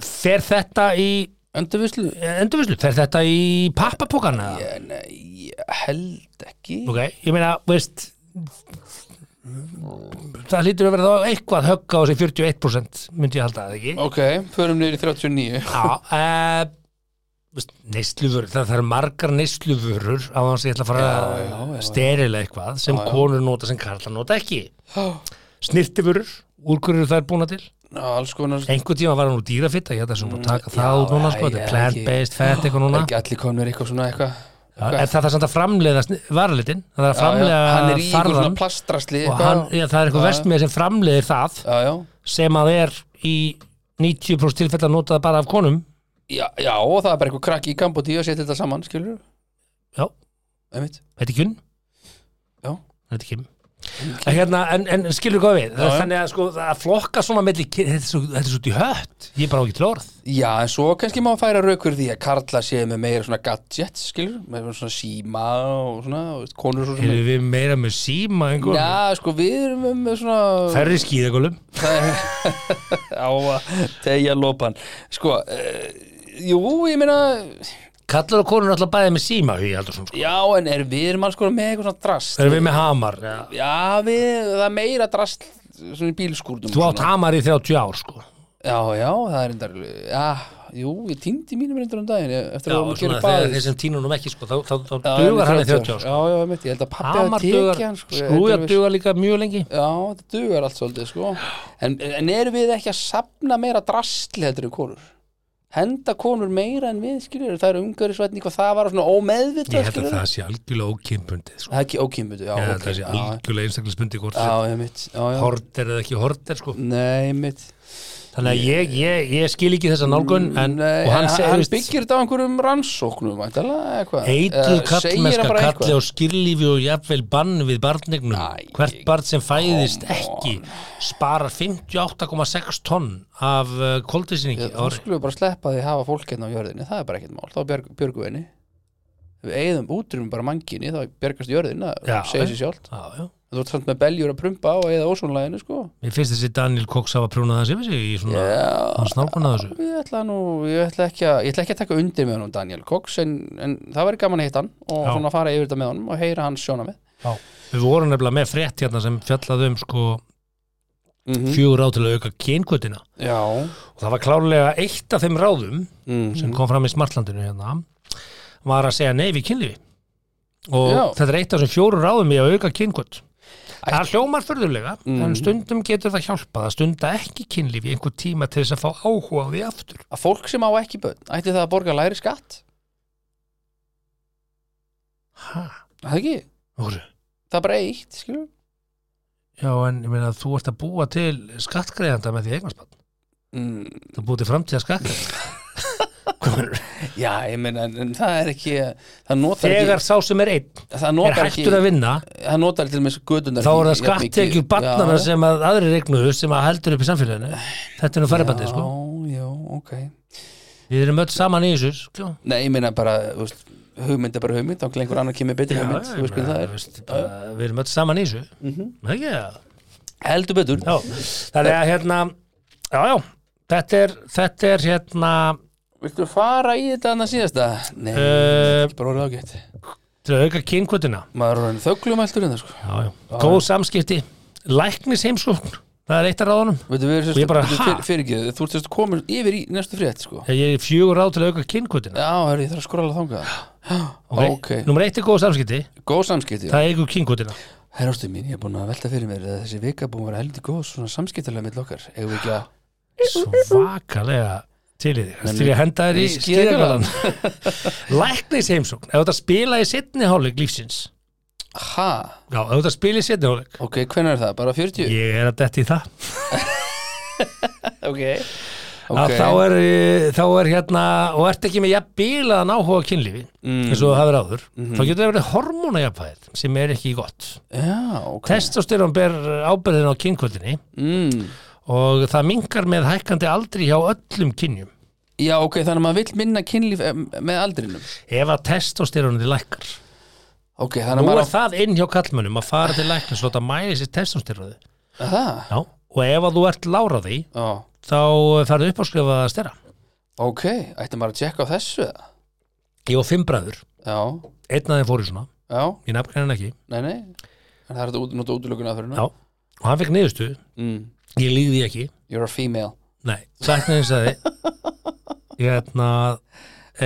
fer þetta í
Öndurvislu
endurvislu, fer þetta í pappapokana yeah.
Nei, ég held ekki
ok, ég meina, veist það hlýtur að vera þá eitthvað högg á þessi 41% myndi ég halda það ekki
Ok, förum niður í 39
Já, uh, neysluvörur, það það eru margar neysluvörur á þess að ég ætla að fara
Já, já, já,
að
já.
sterilega eitthvað sem
Já, já.
konur nota sem karlar nota ekki.
Já.
Snirtivörur, úr hverju það er búna til?
Ná, Alls konar
Einhver tíma var hann úr dýrafitta, ég held að sem búið að taka það
Mm, já,
út núna,
já,
sko, þetta
ég-
er plant-based fett eitthvað núna.
Ekki allir konur eitthvað svona eitthvað
Já, Er það það samt að framleiða varalitin? Það er að
Hann er í
framleiða
eitthvað svona
farðan
plastrasli
og hann,
eitthvað.
já, það er
Já,
eitthvað
já.
vestmið sem framleiðir það
Já, já
sem að er í 90% tilfella notað bara af konum.
Já, já, og það er bara eitthvað krakki í Kambodíu að setja þetta saman, skilur
Já,
Einmitt,
þetta er kjunn.
já
þetta er ekki En, hérna, en, en skilur hvað við
Já, já.
þannig að, sko, að flokka svona milli kyn- þetta er svo, þetta er svo út í hött, ég er bara á ekki til orð
Já, en svo kannski má færa raukur því að karla séu með meira svona gadgets, skilur, með svona síma og svona, og veist, konur svo sem
erum við meira með síma einhver ja.
Já, sko, við erum með- með svona
færri skýðagólum
á að tegja lopan Sko, uh, jú, ég meina
kallar og konur alltaf bæðið með síma Hugi Halldórsson, sko.
Já, en er við erum alls sko með eitthvað svona drast
erum við með hamar ja.
Já, við, það er meira drast svona í bílskúrnum
þú átt
svona.
hamar í 30 ár sko.
Já, já, það er endar Já, jú, ég týndi mínum reyndar um daginn ég- eftir
já,
að við
svona,
gerum
þegar
baðið
þeir sem tínunum ekki sko, þá, þá, þá
Já,
dugar hann í 30 ár sko.
Já, já, mitt, ég held að pappi hafi
hamar dugar,
tekið hann sko,
skrúja
þetta er-
dugar líka mjög lengi
Já, þetta dugar allt svolítið sko en, en erum við ekki að sapna meira drastli heldur en konur? Henda konur meira en við, skiljur það eru umgörisvætni, hvað það var og svona
ég
ómeðvitað
held að
skilurðu?
það sé algjörlega ókimpundið sko.
Það er ekki ókýmbutu, já,
ég held að
ok
það sé algjörlega einstaklisbundið hvort
Já,
sem
já, ég mitt, já, já
horter eða ekki horter sko.
Nei, mitt
Þannig að ég, ég, ég skil ekki þessa nálgun en,
Mm, Nei,
og hann,
en
segir,
hann
veist,
byggir þetta á einhverjum rannsóknum, væntanlega, eitthvað
eitruð
Eða segir hann
kallmennska
bara eitthvað?
kalli á skýrlífi og jafnvel bann við barnignum
Æ,
hvert barn sem fæðist ekki sparar 58,6 tonn af uh, koldisningi
Þá skulum við bara sleppa því að hafa fólk hérna á jörðinni það er bara ekkert mál, þá björg, björgum við henni Ef við eigðum útrýmum bara manginni þá björgast jörðin,
Já,
það segir sér sjálft
Já, já.
þú ert samt með beljur að prumpa og eigða ósónlæginu sko.
Mér finnst þessi Daniel Cox hafa prjónað hans yfir sig í svona
Já.
hans nálgun að þessu
ég ætla nú, ég ætla ekki að ég ætla ekki að taka undir með honum Daniel Cox en, en það verður gaman að hitta hann og
Já.
svona fara yfir þetta með honum og heyra hans sjóna með
já. Við vorum nefnilega með frétt hérna sem fjallaði um sko
Mm.
fjögur á til að auka kynkvötina
Mhm. Já
og það var klárlega eitt af þeim ráðum
mm.
sem kom fram í smartlandinu hérna var að segja nei við kynlífi og
Já.
þetta er eitt af þessum fjórum ráðum í að auka kynkvöld það hljómar förðulega
Mm.
en stundum getur það hjálpað að stunda ekki kynlífi í einhver tíma til þess að fá áhuga á því aftur
að fólk sem á ekki börn, ætti það að borga læri skatt
ha,
það ekki,
okkur.
það er bara eitt skilur.
já en ég meina þú ert að búa til skattgreðanda með því eignarspann
Mm.
þú búið til framtíða skattgreðanda Hvað meinarðu?
já, ég meina, en, en það er ekki það notar
þegar
ekki
sá sem er einn
það
er
notar ekki
hættur að vinna
það notar til með gödunar
þá er það skattekjur barnana sem að aðrir eignuðu sem að heldur upp í samfélaginu þetta er nú færibandið sko
já, já, ok
Við erum öll saman í þessu sko.
nei, ég meina bara, þú veist, hugmynd er bara hugmynd þá ekki einhver annar kemur betri hugmynd þú veist hvernig það er Mhm.
veist, bara, Við erum öll saman í þessu mm -hmm. ja.
heldur betur
já, Það er hérna Já, já, þetta er, þetta er hérna
viltu fara í þetta annað síðasta? nei,
Eh,
ekki bara orðið ágætt
til að auka kynkvötina
maður er orðin þöglum heldur en það sko
Já, já, góð samskipti Læknis heimsókn, það er eitt af ráðunum
Veitu, við erum
Og ég bara, ha?
sérst fyrirgið, þú ert sérst komin yfir í næstu frétt sko.
Ég er fjögur ráð til að auka kynkvötina
Já, herri, ég þarf að skorala þangað ok.
Númer eitt er góð samskipti,
Góð samskipti já.
það eigur kynkvötina
Herrastu mín, ég er búin að velta fyrir mér að þessi vika er búin að vera heldur góð svona samskiptalega mitt okkar Eigum við ekki að
Svakalega til í þig, til ég henda þér í
í
skýðagalan Læknis heimsókn, ef þú ert að spila í setni hálfleik lífsins
ha,
Já, ef þú ert að spila í setni hálfleik
ok, hvernig er það? Bara 40?
Ég er að detti í það
Ok,
okay. þá, er, eh, þá er hérna og ert ekki með jafn bílaðan áhuga á kynlífi eins og það verið áður þá getur það verið hormónajafnvæðir sem er ekki gott
Já, ok
Testosterón ber ábyrðin á kynkvöldinni
mm.
og það mingar með hækkandi aldri hjá öllum kynjum
Já, ok, þannig að maður vill minna kynlíf eh, með aldrinum
ef að testosterónið lækkar
Ok, þannig að
nú er
maður á
það inn hjá kallmönnum að fara til læknis og þetta mæli sér testosterónið
það
Já. og ef að þú ert lára því
Já,
þá færðu upp á skrifa að stera
ok, ætti maður að tjekka á þessu eða?
ég og fimm bræður,
Já,
einn af þeim fór í svona
já,
ég nefnir hann ekki,
nei, nei En það er þetta út, nota útlökun aðferðina
já og hann fekk niðurstu,
mm.
ég líði ekki
You're a female
Nei, læknirinn sagði hérna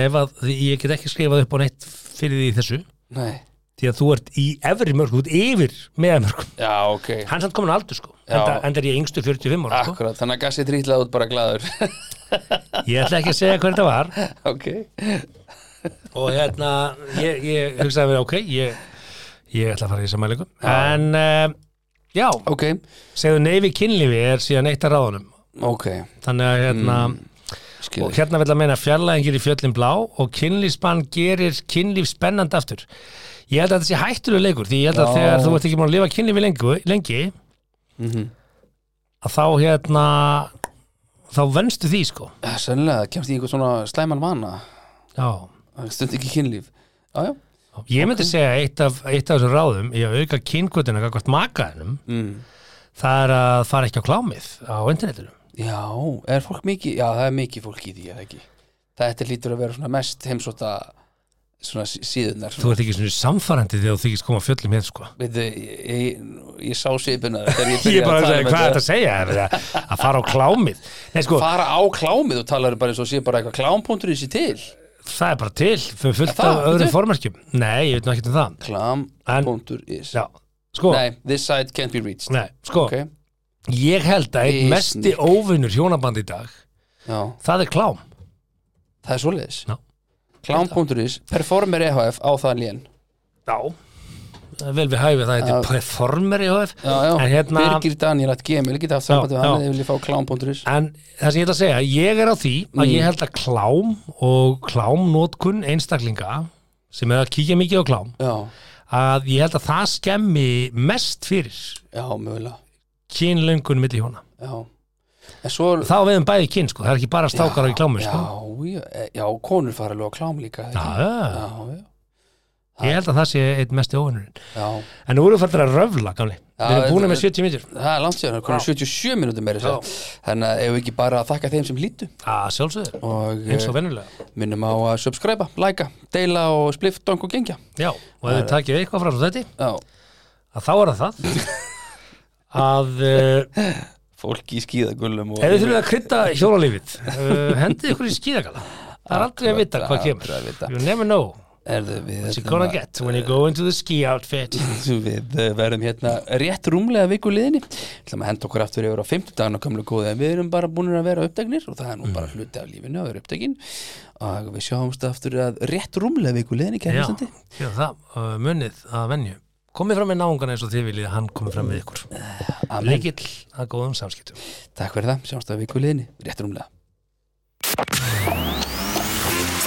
ef að því- ég get ekki skrifað upp á neitt fyrir því í þessu,
Nei,
því að þú ert í efri mörgum, þú ert yfir meða mörgum
já, ok
hann er samt komin á aldur sko,
Já.
enda, enda er ég yngstu 45 ára sko,
Akkurat, þannig að gassi trýtlað út bara glaður
ég ætla ekki að segja hver þetta var
Ok,
og hérna, ég, ég hugsaði mér ok, ég, ég ætla að fara í þessa mælingu en uh, já,
ok,
segðu neyfi kynlífi er síðan eitt að ráðunum
ok
þannig að hérna
Skil
og hérna vil að meina fjarlæðingir í fjöllin blá og kynlífsbann gerir kynlíf spennandi aftur ég held að þetta sé hættulega leikur því ég held að
Já.
þegar þú ert ekki búin að lifa kynlífi lengi, lengi að þá hérna þá venstu því sko
Ja, hérna, Sennilega, það kemst í einhvern svona slæman vana
já.
Það stund ekki kynlíf Já, já,
ég myndi segja að eitt af, eitt af þessum ráðum í að auka kynkvötina gagvart makaðinum
mm.
það er að fara ekki á klámið á internetinu
já, er fólk mikið Já, það er mikið fólk í því, er það ekki Þetta lítur að vera svona mest heimsóta svona sí- síðurnar
þú ert ekki svona samfærandi þegar þú þykist koma á fjöllum hér sko
Veitu, ég, ég, ég sá svipina þegar ég
ég
byrjaði
er bara að
tala um þetta
segja hvað er þetta að segja er þetta að fara á klámið Nei, sko,
fara á klámið og talar um bara eins og sé bara eitthvað klámpunktur í sér til
Það er bara til, fu- fullt
Er það?
af öðrum
Bíddu?
formerkjum Nei, ég veit nú ekkert um það
klámpunktur is
Já, sko, nei,
nei, this side can't be reached
sko
ok,
Ég held að einn
Ísni.
mesti óvinnur hjónaband í dag
já,
Það er klám
það er svoleiðis
Já.
klámpunktur is, performer EHF á það lén
Já Vel við hæfið það, þetta er performer í HF
já, já,
En hérna,
Birgir Daniel at gmail, geta haft sambandi
Já,
við hann
já.
eða vilja fá klámpunktur is
en það sem ég ætla að segja Ég er á því að
Mm.
ég held að klám og klámnótkun einstaklinga sem er að kíkja mikið á klám
já,
að ég held að það skemmi mest fyrir
já, mögulega
kynlöngun milli hjóna
já, en svo
þá við um bæði kyn sko, það er ekki bara stákar á klámi
já,
sko.
já, e- já, konur fara alveg á klám líka ekki?
Já, já.
já,
Ég held að það sé eitt mesti óvinnurinn.
já, já.
En nú erum við fættir að röfla, gamli.
Já,
við erum búin
þetta-
með 70 mínútur.
Það er langt síðan, það er konar 77 mínútur meira sér. Þannig að ef við ekki bara að þakka þeim sem lítu
Já, sjálfsögður.
og
Eins og
eh,
vennulega.
minnum á að subscriba, læka, deila og spliff, dong og gengja.
Já, og ef við takjum eitthvað frá þetta,
Já,
að þá er það það. að uh,
fólk í skíðagullum og...
ef við þurfum að krydda hjólalífið, uh, hendið ykkur í skíðagala. Það er aldrei að vita hvað kemur.
Aldrei að vita.
You never know
Erðu við... hérna-
what you're gonna get when you go into the ski outfit.
Við eh, verðum hérna rétt rúmlega viku liðinni. ætlum að henda okkur aftur yfir á 50 dagana gamlu góði en við erum bara búin að vera uppdegnir og það er nú bara hluti af lífinu að vera uppdegin og við sjáumst aftur að rétt rúmlega viku liðinni
Já,
kærlistandi.
já, það, uh, munnið að venju. Komið fram með náungan eins og þið viljið að hann komið fram með ykkur.
Amen.
Lekill að góðum samskiptum.
Takk fyrir það, sjáumst að viku liðinni, rétt rúmlega.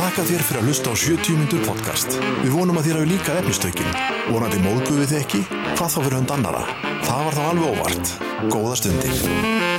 Þakka þér fyrir að hlusta á 70 mínútur podcast. Við vonum að þér hafi líka efnistökin. Vonandi móðguðu þið ekki? Hvað þá fyrir hund annara? Það var þá alveg óvart. Góða stundir.